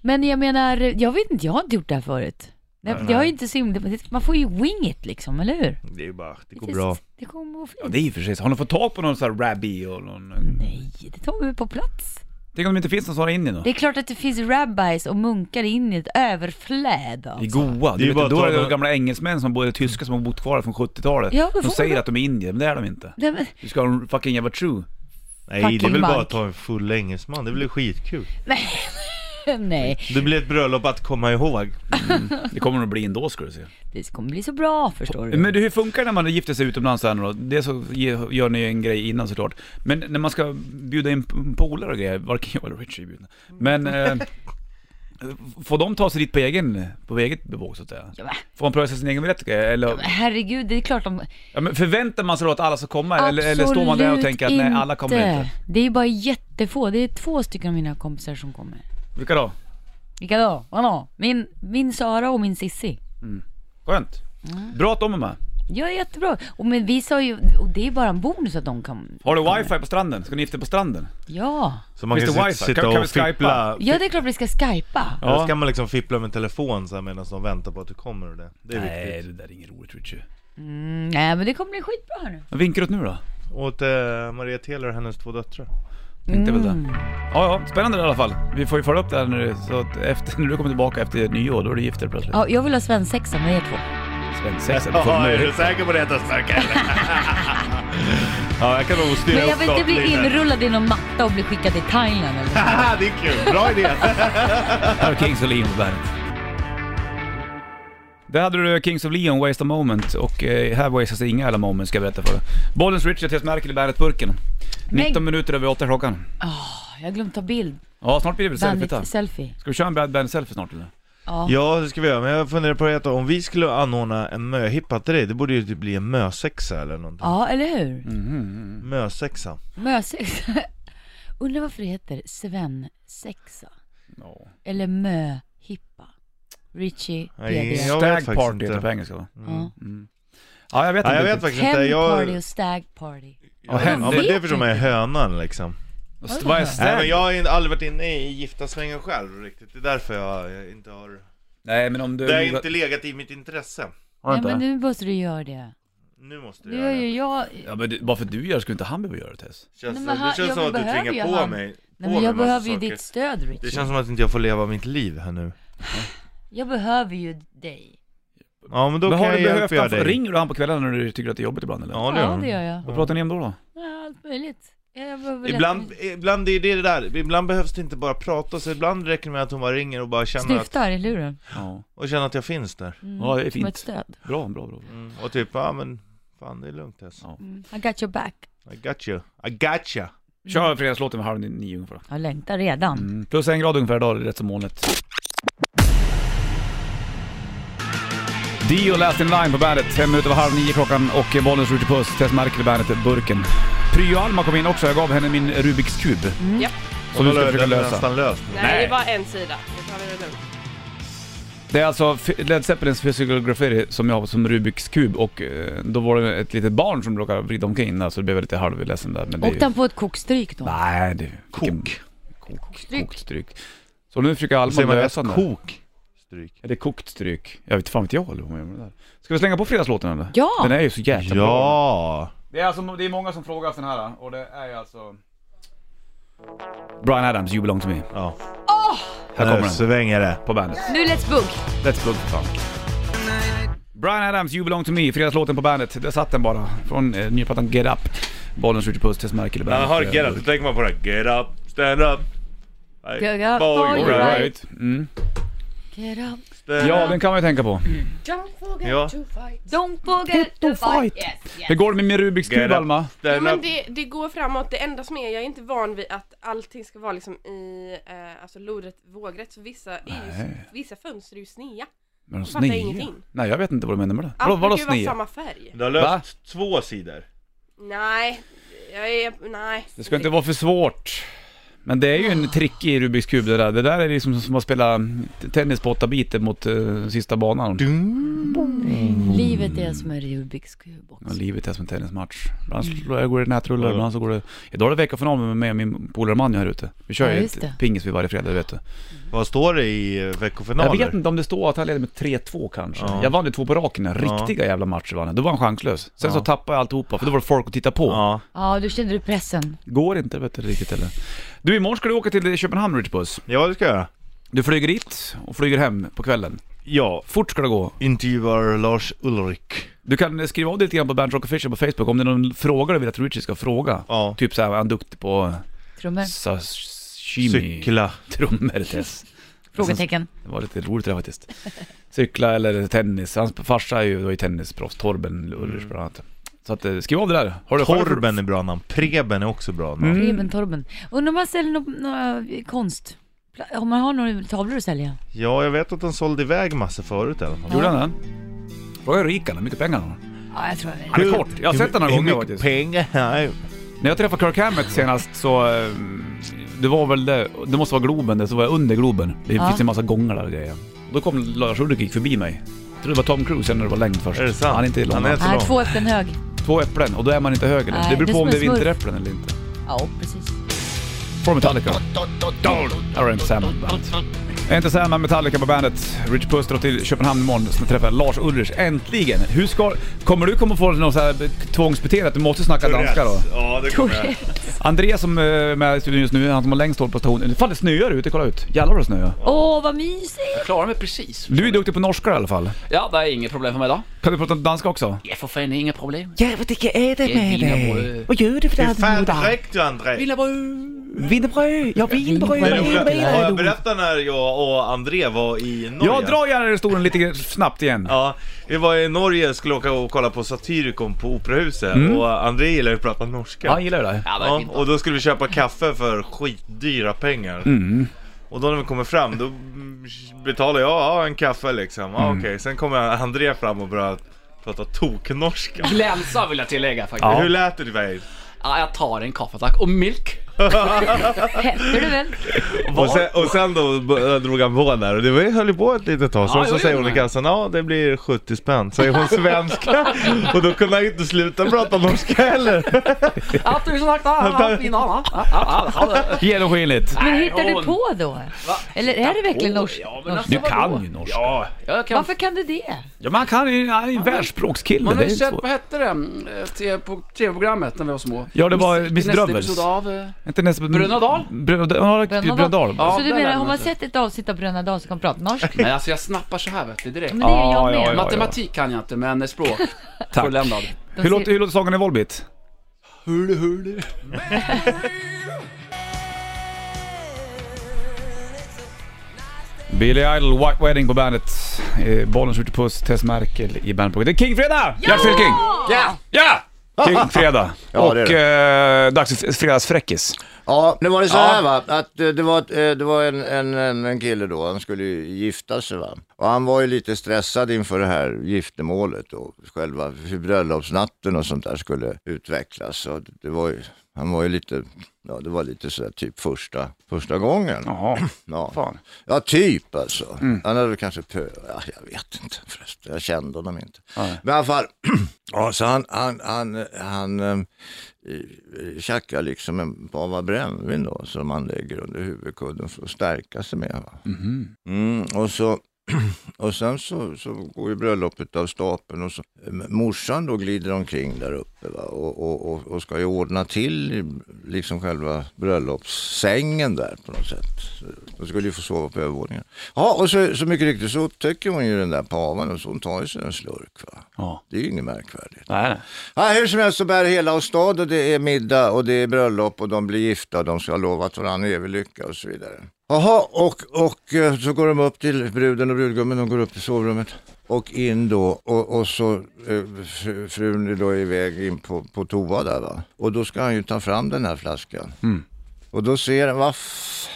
[SPEAKER 3] Men jag menar, jag vet inte, jag har inte gjort det här förut. Nej, jag har ju inte så himla, man får ju wing it liksom, eller hur?
[SPEAKER 2] Det är ju bara, det går bra.
[SPEAKER 3] Det kommer gå fint.
[SPEAKER 1] Ja, det är ju för sig så. Har de fått tag på någon sån här rabbi och någon...
[SPEAKER 3] Nej, det tar vi på plats.
[SPEAKER 1] Tänk om det inte finns någon sån i Indien då?
[SPEAKER 3] Det är klart att det finns rabbis och munkar in i ett överflöd av.
[SPEAKER 1] I Goa.
[SPEAKER 2] Det är
[SPEAKER 1] Du
[SPEAKER 2] ju bara
[SPEAKER 1] vet, då
[SPEAKER 2] att
[SPEAKER 1] är
[SPEAKER 2] ta
[SPEAKER 1] det
[SPEAKER 2] någon-
[SPEAKER 1] gamla engelsmän som både tyskar som har bott kvar från 70-talet.
[SPEAKER 3] Ja, men
[SPEAKER 1] de
[SPEAKER 3] får
[SPEAKER 1] säger
[SPEAKER 3] man-
[SPEAKER 1] att de är indier, men det är de inte.
[SPEAKER 3] Nej, men,
[SPEAKER 1] Du ska ha en fucking jävla true.
[SPEAKER 2] Nej, det är
[SPEAKER 3] Fucking
[SPEAKER 2] väl bara
[SPEAKER 3] Mark.
[SPEAKER 2] att ta en full engelsman. Det blir skitkul.
[SPEAKER 3] nej,
[SPEAKER 2] Det blir ett bröllop att komma ihåg.
[SPEAKER 1] Det kommer de att bli ändå ska du se.
[SPEAKER 3] det kommer bli så bra förstår du.
[SPEAKER 1] Men du, hur funkar det när man gifter sig utomlands här nu då? Dels så ge- gör ni ju en grej innan såklart. Men när man ska bjuda in p- polare och grejer, varken jag eller Richie är bjudna. Men... Eh, får de ta sig dit på egen, på eget bevåg så att säga?
[SPEAKER 3] Ja, men,
[SPEAKER 1] Får man pröva sig sin egen biljett och grejer, eller?
[SPEAKER 3] herregud, det är klart de...
[SPEAKER 1] Ja, men förväntar man sig då att alla ska komma eller, eller står man där och
[SPEAKER 3] Absolut
[SPEAKER 1] tänker att nej alla kommer inte?
[SPEAKER 3] Det är ju bara jättefå, det är två stycken av mina kompisar som kommer.
[SPEAKER 1] Vilka då?
[SPEAKER 3] Vilka då? Vadå? Min, min Sara och min Sissi.
[SPEAKER 1] Skönt.
[SPEAKER 3] Mm.
[SPEAKER 1] Bra att de är med.
[SPEAKER 3] Jag är jättebra. Och men vi sa ju, och det är bara en bonus att de kan...
[SPEAKER 1] Har du wifi på stranden? Ska ni gifta er på stranden?
[SPEAKER 3] Ja.
[SPEAKER 2] Så man
[SPEAKER 1] Mr.
[SPEAKER 2] kan
[SPEAKER 1] Wifi,
[SPEAKER 2] sit- sitta
[SPEAKER 1] kan- kan vi
[SPEAKER 2] och
[SPEAKER 1] skypa?
[SPEAKER 2] fippla.
[SPEAKER 3] Ja det är klart vi ska skypa.
[SPEAKER 1] Ja.
[SPEAKER 2] Då ska man liksom fippla med telefon så här medan de väntar på att du kommer och det. Det är viktigt.
[SPEAKER 1] det där är inget roligt Richie.
[SPEAKER 3] Mm, nej, men det kommer bli skitbra här nu.
[SPEAKER 1] Vad vinkar du åt nu då?
[SPEAKER 2] Åt eh, Maria Teler och hennes två döttrar.
[SPEAKER 1] Tänkte väl
[SPEAKER 3] Mm.
[SPEAKER 1] det. Ja, ja, spännande i alla fall. Vi får ju följa upp det här nu, så att efter, när du kommer tillbaka efter nyår, då är du gift helt plötsligt.
[SPEAKER 3] Ja, jag vill ha svensexa med er två.
[SPEAKER 1] Svensexa, du får möjlighet.
[SPEAKER 2] säker på det Stöckel? ja, jag kan nog styra
[SPEAKER 3] Men jag
[SPEAKER 2] upp
[SPEAKER 3] vill inte
[SPEAKER 2] något
[SPEAKER 3] bli
[SPEAKER 2] lite.
[SPEAKER 3] inrullad i någon matta och bli skickad till Thailand eller så.
[SPEAKER 2] Haha, det är kul. Bra idé.
[SPEAKER 1] Här har Kings of Leon på bandet. Där hade du Kings of Leon, Waste a Moment. Och eh, här wastas inga alla moments ska jag berätta för dig. Bollens Richard Tess Merkel i Bandet-burken. 19
[SPEAKER 3] Men-
[SPEAKER 1] minuter över 8 klockan.
[SPEAKER 3] Jag har glömt ta bild.
[SPEAKER 1] Ja, snart blir det väl selfie
[SPEAKER 3] Bandit
[SPEAKER 1] ta.
[SPEAKER 3] selfie.
[SPEAKER 1] Ska vi köra en Bad Band-selfie snart eller?
[SPEAKER 3] Ja.
[SPEAKER 2] Ja, det ska vi göra. Men jag funderar på det om vi skulle anordna en möhippa till dig, det borde ju typ bli en mösexa eller någonting.
[SPEAKER 3] ja, eller hur?
[SPEAKER 2] Mm. Mösexa.
[SPEAKER 3] Mösexa. Undrar varför det heter svensexa?
[SPEAKER 1] Ja.
[SPEAKER 3] Eller möhippa? Richie,
[SPEAKER 2] Nej,
[SPEAKER 3] GD.
[SPEAKER 2] jag vet
[SPEAKER 1] Stag
[SPEAKER 2] faktiskt
[SPEAKER 1] Party heter
[SPEAKER 2] inte.
[SPEAKER 1] det på engelska va?
[SPEAKER 3] Ja.
[SPEAKER 1] Ja, jag vet
[SPEAKER 2] Nej,
[SPEAKER 1] inte
[SPEAKER 2] jag
[SPEAKER 1] riktigt.
[SPEAKER 2] vet faktiskt inte.
[SPEAKER 3] Hen party
[SPEAKER 2] Jag...
[SPEAKER 3] typ och stag party.
[SPEAKER 1] Ja,
[SPEAKER 2] Ja,
[SPEAKER 1] hen-
[SPEAKER 2] men det förstår man är hönan liksom.
[SPEAKER 1] St- Vad är stag?
[SPEAKER 2] Nej, men jag har ju aldrig varit inne i giftasvängen själv riktigt. Det är därför jag eh, inte har...
[SPEAKER 1] Nej, men om du...
[SPEAKER 2] Det har inte legat i mitt intresse.
[SPEAKER 1] Har du
[SPEAKER 3] Nej,
[SPEAKER 1] inte?
[SPEAKER 3] men nu måste du göra det.
[SPEAKER 2] Nu måste du
[SPEAKER 3] Nu gör
[SPEAKER 2] göra det.
[SPEAKER 3] ju jag...
[SPEAKER 1] Ja, men du- bara för att du gör det skulle inte han behöva göra det Tess.
[SPEAKER 2] Känns,
[SPEAKER 3] Nej, men han-
[SPEAKER 2] det känns
[SPEAKER 3] jag
[SPEAKER 2] som att du
[SPEAKER 3] behöver ju
[SPEAKER 2] tvingar på
[SPEAKER 3] han.
[SPEAKER 2] mig. på
[SPEAKER 3] Nej, men
[SPEAKER 2] mig
[SPEAKER 3] jag
[SPEAKER 2] massa
[SPEAKER 3] behöver ju
[SPEAKER 2] saker.
[SPEAKER 3] ditt stöd
[SPEAKER 2] Det
[SPEAKER 3] Richie.
[SPEAKER 2] känns som att inte jag får leva mitt liv här nu.
[SPEAKER 3] Jag behöver ju dig.
[SPEAKER 2] Ja men då
[SPEAKER 1] Men
[SPEAKER 2] kan
[SPEAKER 1] har
[SPEAKER 2] jag
[SPEAKER 1] du behövt
[SPEAKER 2] hjälpa
[SPEAKER 1] han?
[SPEAKER 2] dig.
[SPEAKER 1] Ringer du han på kvällen när du tycker att det är jobbigt ibland eller?
[SPEAKER 2] Ja det
[SPEAKER 3] Ja, det
[SPEAKER 2] gör
[SPEAKER 3] gör
[SPEAKER 2] jag.
[SPEAKER 3] jag.
[SPEAKER 1] Vad pratar ni om då? då?
[SPEAKER 3] Ja, allt möjligt. Jag behöver
[SPEAKER 2] Ibland, ibland är det det där, ibland behövs det inte bara prata så ibland räcker det med att hon bara ringer och bara känner att,
[SPEAKER 3] Snyftar i luren. Mm,
[SPEAKER 1] Ja.
[SPEAKER 2] och känner att jag finns där.
[SPEAKER 1] Ja, det är
[SPEAKER 3] Som ett
[SPEAKER 1] fint.
[SPEAKER 3] stöd.
[SPEAKER 1] Bra, bra, bra.
[SPEAKER 2] Mm. Och typ, ja men fan det är lugnt Tess.
[SPEAKER 1] Ja.
[SPEAKER 3] Mm. I got your back.
[SPEAKER 2] I got you, I got you.
[SPEAKER 1] Kör fredagslåten vid halv nio ungefär.
[SPEAKER 3] Jag längtar redan.
[SPEAKER 1] Mm. Plus en grad ungefär idag, det är rätt som molnigt. Dio Last In Line på bandet, fem minuter över halv nio klockan och bollens Ritchie Puss, Tess Merkel i bandet, burken. Pryo Alma kom in också, jag gav henne min Rubiks kub.
[SPEAKER 6] Japp.
[SPEAKER 1] Som du ska
[SPEAKER 2] Den är
[SPEAKER 1] försöka lösa.
[SPEAKER 2] nästan löst.
[SPEAKER 6] Nej, det är bara en sida. Nu tar vi det lugnt.
[SPEAKER 1] Det är alltså F- Led Zeppelins Physical Graffiti som jag har som Rubiks kub och eh, då var det ett litet barn som råkade vrida omkring där så det blev jag lite halvledsen där. Men det är ju-
[SPEAKER 3] Åkte han på ett kokstryk då?
[SPEAKER 1] Nej, det...
[SPEAKER 2] Kok.
[SPEAKER 1] Kok.
[SPEAKER 3] Kokstryk.
[SPEAKER 1] Kokt stryk. Så nu försöker
[SPEAKER 2] Säger
[SPEAKER 1] Alma lösa
[SPEAKER 2] man lösa
[SPEAKER 1] den där.
[SPEAKER 2] kok? Stryk.
[SPEAKER 1] Är det kokt stryk? Jag vet fan vet jag eller hur man gör med det där. Ska vi slänga på fredagslåten eller?
[SPEAKER 3] Ja!
[SPEAKER 1] Den är ju så jäkla bra.
[SPEAKER 2] Ja!
[SPEAKER 1] Det är alltså, det är många som frågar efter den här och det är ju alltså... Brian Adams, You belong to me.
[SPEAKER 2] Ja.
[SPEAKER 1] Här kommer
[SPEAKER 2] Nu
[SPEAKER 1] den,
[SPEAKER 2] svänger det.
[SPEAKER 1] på bandet.
[SPEAKER 3] Nu let's bug!
[SPEAKER 1] Let's plug för fan. Brian Adams, You belong to me, fredagslåten på bandet. Där satt den bara. Från eh, nyplattan Get Up. Bollen skjuter puss, Tess Merkel i bandet.
[SPEAKER 2] då tänker man på det Get up, stand up.
[SPEAKER 3] Get up, boy,
[SPEAKER 1] All
[SPEAKER 3] right.
[SPEAKER 1] Right. Mm.
[SPEAKER 3] Get up.
[SPEAKER 2] Stand
[SPEAKER 1] Ja,
[SPEAKER 2] up.
[SPEAKER 1] den kan man ju tänka på.
[SPEAKER 2] Ja.
[SPEAKER 3] Don't forget
[SPEAKER 1] to fight. Hur går det med min Rubiks
[SPEAKER 2] Get
[SPEAKER 1] kub
[SPEAKER 2] up.
[SPEAKER 1] Alma?
[SPEAKER 6] Ja,
[SPEAKER 2] Stand
[SPEAKER 6] men
[SPEAKER 2] up.
[SPEAKER 6] det, det går framåt, det enda som är, jag är inte van vid att allting ska vara liksom i eh, alltså lodrätt, vågrätt, så vissa, är ju,
[SPEAKER 1] Nej.
[SPEAKER 6] vissa fönster är ju snea.
[SPEAKER 1] Men de
[SPEAKER 6] fattar
[SPEAKER 1] snea?
[SPEAKER 6] ingenting.
[SPEAKER 1] Nej jag vet inte vad du menar med det. Vadå,
[SPEAKER 6] Allt
[SPEAKER 1] vadå
[SPEAKER 6] brukar ju vara
[SPEAKER 1] snea?
[SPEAKER 6] samma färg.
[SPEAKER 2] Du har löst två sidor.
[SPEAKER 6] Nej, jag är, nej.
[SPEAKER 1] Det ska inte vara för svårt. Men det är ju en trick i Rubiks kub det där. Det där är liksom som att spela tennis på åtta bitar mot eh, sista banan.
[SPEAKER 3] Mm. Livet är som en Rubiks kub
[SPEAKER 1] Ja,
[SPEAKER 3] också.
[SPEAKER 1] livet är som en tennismatch. Ibland slår jag, går det nätrullar, ibland så går det... Idag är det veckofinal med mig och min polare Manjo här ute. Vi kör
[SPEAKER 3] Ja,
[SPEAKER 1] ju
[SPEAKER 3] just det.
[SPEAKER 1] ett pingis vid varje fredag, det vet du.
[SPEAKER 2] Vad står det i eh, veckofinaler?
[SPEAKER 1] Jag vet inte om det står att han leder med 3-2 kanske.
[SPEAKER 2] Ja.
[SPEAKER 1] Jag vann ju två på raken, där. riktiga jävla matcher vann jag. Då var han chanslös. Sen så
[SPEAKER 2] Ja.
[SPEAKER 1] tappade jag alltihopa, för då var det folk att titta på.
[SPEAKER 2] Ja.
[SPEAKER 3] Ja, då kände du pressen.
[SPEAKER 1] Går inte vet du riktigt eller. Du, imorgon ska du åka till Köpenhamn Ridgebuss.
[SPEAKER 2] ja, det ska jag göra.
[SPEAKER 1] Du flyger dit och flyger hem på kvällen.
[SPEAKER 2] Ja,
[SPEAKER 1] Fort ska det gå.
[SPEAKER 2] intervjuar Lars Ulrik.
[SPEAKER 1] Du kan skriva av dig lite grann på Bernt Rock Official på Facebook om det är någon fråga du vill att Richie ska fråga.
[SPEAKER 2] Ja.
[SPEAKER 1] Typ såhär, är han duktig på
[SPEAKER 3] Trummor?
[SPEAKER 1] sashimi?
[SPEAKER 2] Cykla.
[SPEAKER 1] Trummor, Tess.
[SPEAKER 3] Frågetecken.
[SPEAKER 1] Det var lite roligt det där faktiskt. Cykla eller tennis. Hans farsa är ju, var ju tennisproffs, Torben Ulrich bland annat. Så att, eh, skriv av det där. Har du Mm.
[SPEAKER 2] Torben är bra namn. Preben är också bra namn.
[SPEAKER 3] Preben Torben. Undrar om man säljer nå- några konst? Pla- Om man har några tavlor att sälja?
[SPEAKER 2] Ja, jag vet att han sålde iväg massor förut i alla fall.
[SPEAKER 1] Gjorde han den? Fråga hur rik han är, mycket pengar han har.
[SPEAKER 3] Ja, jag tror jag
[SPEAKER 1] Han är kort, jag har sett den några
[SPEAKER 2] Hur
[SPEAKER 1] gånger
[SPEAKER 2] mycket
[SPEAKER 1] faktiskt.
[SPEAKER 2] pengar? Nej.
[SPEAKER 1] När jag träffade Kirk Hammett senast så... eh, Det var väl det, det måste vara Globen det, så var jag under Globen. Det
[SPEAKER 3] Ja.
[SPEAKER 1] finns en massa gångar där och grejer. Då kom Lars Ulrik gick förbi mig. Jag trodde det var Tom Cruise, sen när det var längd först.
[SPEAKER 2] Är det sant?
[SPEAKER 1] Han är inte lång.
[SPEAKER 2] Han är-
[SPEAKER 3] Nej, två äpplen hög.
[SPEAKER 1] Två äpplen och då är man inte höger.
[SPEAKER 3] Nej,
[SPEAKER 1] det beror
[SPEAKER 3] det är
[SPEAKER 1] på om
[SPEAKER 3] som
[SPEAKER 1] det är
[SPEAKER 3] en smurf.
[SPEAKER 1] vinteräpplen eller inte.
[SPEAKER 3] Ja, precis.
[SPEAKER 1] Från Metallica. Här har du en Sam på bandet. Inte sen med Metallica på bandet. Rich Puss drar till Köpenhamn imorgon som träffar Lars Ulrich. Äntligen! Hur ska... Kommer du komma få något så här tvångsbeteende att du måste snacka danska då?
[SPEAKER 2] Ja, det kommer jag.
[SPEAKER 1] Andreas som eh, är med i studion just nu, han som har längst håll på stationen. Fan det snöar ute, kolla ut. Jävlar vad det snöar.
[SPEAKER 3] Åh, vad mysigt!
[SPEAKER 7] Jag klarar mig precis.
[SPEAKER 1] Du är duktig på norska i alla fall.
[SPEAKER 7] Ja, det är inget problem för mig idag.
[SPEAKER 1] Kan du prata danska också?
[SPEAKER 7] Ja, för fan, inga problem.
[SPEAKER 8] Ja, vad tycker jag är det
[SPEAKER 7] Det är
[SPEAKER 8] med dig?
[SPEAKER 7] wienerbröd.
[SPEAKER 8] Vad gör du för
[SPEAKER 2] Hur fan
[SPEAKER 8] dig?
[SPEAKER 2] drack du André?
[SPEAKER 8] Wienerbröd! Ja, wienerbröd!
[SPEAKER 2] Men
[SPEAKER 8] Vad är det
[SPEAKER 2] Ola, har
[SPEAKER 8] med
[SPEAKER 2] jag
[SPEAKER 8] dig?
[SPEAKER 2] berättat när jag och André var i Norge?
[SPEAKER 1] Jag drar gärna historien lite grann snabbt igen.
[SPEAKER 2] Ja, vi var i Norge och skulle åka och kolla på Satyricon på Operahuset och André gillar ju att prata norska.
[SPEAKER 1] Han gillar ju det.
[SPEAKER 7] Mm. Ja, det är
[SPEAKER 2] Ja,
[SPEAKER 7] fint.
[SPEAKER 2] och då skulle vi köpa kaffe för skitdyra pengar.
[SPEAKER 7] Mm.
[SPEAKER 2] Och då när vi kommer fram, då mm, betalar jag ja, en kaffe liksom.
[SPEAKER 7] Mm.
[SPEAKER 2] Ja, Okej, sen kommer André fram och börjar prata toknorska.
[SPEAKER 7] Glänsa vill jag tillägga faktiskt.
[SPEAKER 2] Hur
[SPEAKER 7] Ja.
[SPEAKER 2] lät det dig?
[SPEAKER 7] jag tar en kaffe tack. Och milk.
[SPEAKER 3] Hette du väl?
[SPEAKER 2] Och sen, och sen då b- drog han på där och det var, höll ju på ett litet tag. Sen
[SPEAKER 7] Ja,
[SPEAKER 2] så
[SPEAKER 7] jag
[SPEAKER 2] säger hon
[SPEAKER 7] gjorde
[SPEAKER 2] i
[SPEAKER 7] det.
[SPEAKER 2] kassan, ja det blir 70 spänn. Säger hon svenska och då kunde han ju inte sluta prata norska heller.
[SPEAKER 7] Ja, tusen tack. Ja, ja, fin dag, ja. Ja, ja, ha det.
[SPEAKER 1] Genomskinligt.
[SPEAKER 7] Nej,
[SPEAKER 3] Men hittar du
[SPEAKER 7] hon-
[SPEAKER 3] på då?
[SPEAKER 7] Va?
[SPEAKER 3] Eller är det verkligen
[SPEAKER 7] Åh,
[SPEAKER 3] norsk?
[SPEAKER 7] ja, men
[SPEAKER 3] norsk?
[SPEAKER 7] alltså-
[SPEAKER 1] Du kan ju norska.
[SPEAKER 7] Ja, jag kan...
[SPEAKER 3] Varför kan du det?
[SPEAKER 1] Ja, man kan ju, han är ju en världsspråkskille.
[SPEAKER 7] Man
[SPEAKER 1] Det
[SPEAKER 7] har
[SPEAKER 1] är
[SPEAKER 7] ju
[SPEAKER 1] inte
[SPEAKER 7] sett,
[SPEAKER 1] svårt.
[SPEAKER 7] vad hette det, mm, eh, te- på tv-programmet när vi var små?
[SPEAKER 1] Ja, det var Miss
[SPEAKER 7] Nästa
[SPEAKER 1] Drövels.
[SPEAKER 7] episod av... eh,
[SPEAKER 1] Inte nästan...
[SPEAKER 7] Bröderna Dahl?
[SPEAKER 1] Brönnadal?
[SPEAKER 3] Brönnadal?
[SPEAKER 1] Brönnadal.
[SPEAKER 7] Ja,
[SPEAKER 3] så du
[SPEAKER 7] där
[SPEAKER 3] menar,
[SPEAKER 7] är
[SPEAKER 3] har man
[SPEAKER 7] man.
[SPEAKER 3] sett ett avsnitt av Bröderna Dahl så kan man prata norsk?
[SPEAKER 7] Nej, alltså jag snappar så här vet du direkt.
[SPEAKER 3] Men det är jag
[SPEAKER 1] Ja, ja,
[SPEAKER 3] med.
[SPEAKER 1] ja.
[SPEAKER 7] Matematik kan jag inte, men språk.
[SPEAKER 1] Tack.
[SPEAKER 7] Fulländad.
[SPEAKER 3] De
[SPEAKER 1] Hur
[SPEAKER 3] ser-
[SPEAKER 1] låter, hur låter sången i Volbeat?
[SPEAKER 7] Hurle, hurle.
[SPEAKER 1] Billy Idol, White Wedding på bandet. Eh, Bollen skjuter puss, Tess Merkel i bandprogrammet. Det är Kingfredag! Ja! Gert Fylking!
[SPEAKER 9] Ja!
[SPEAKER 1] Ja! Kingfredag.
[SPEAKER 9] Ja,
[SPEAKER 1] Och
[SPEAKER 9] det är
[SPEAKER 1] eh, dags för fredagsfräckis.
[SPEAKER 9] Ja, nu var det så här va, att eh, det var, ett, eh, det var en, en, en, en kille då, han skulle ju gifta sig va. Och han var ju lite stressad inför det här giftermålet och själva hur bröllopsnatten och sånt där skulle utvecklas. Så det var ju, han var ju lite, ja det var lite sådär typ första, första gången.
[SPEAKER 1] Jaha,
[SPEAKER 9] Ja,
[SPEAKER 1] fan.
[SPEAKER 9] ja typ alltså. Han hade väl kanske pö... Ja, jag vet inte förresten, jag kände honom inte. Men i alla fall, ja, så han, han, han, han eh, eh, tjackar liksom en pava brännvin då som han lägger under huvudkudden för att stärka sig med. Va? Mm, och så och sen så, så går ju bröllopet av stapeln och så, morsan då glider omkring där uppe va? Och, och, och, och ska ju ordna till liksom själva bröllopssängen där på något sätt. Så De skulle ju få sova på övervåningen. Ja, och så, så mycket riktigt så upptäcker hon ju den där pavan och så hon tar ju sig en slurk. Va?
[SPEAKER 1] Ja.
[SPEAKER 9] Det är ju inget märkvärdigt.
[SPEAKER 1] Nej, nej.
[SPEAKER 9] Ja, hur som helst så bär hela åstad och det är middag och det är bröllop och de blir gifta och de ska ha lovat varandra evig lycka och så vidare. Jaha, och, och eh, så går de upp till bruden och brudgummen, de går upp till sovrummet och in då och, och så eh, fru- frun är då iväg in på, på toa där va. Och då ska han ju ta fram den här flaskan. Och då ser han, vad f-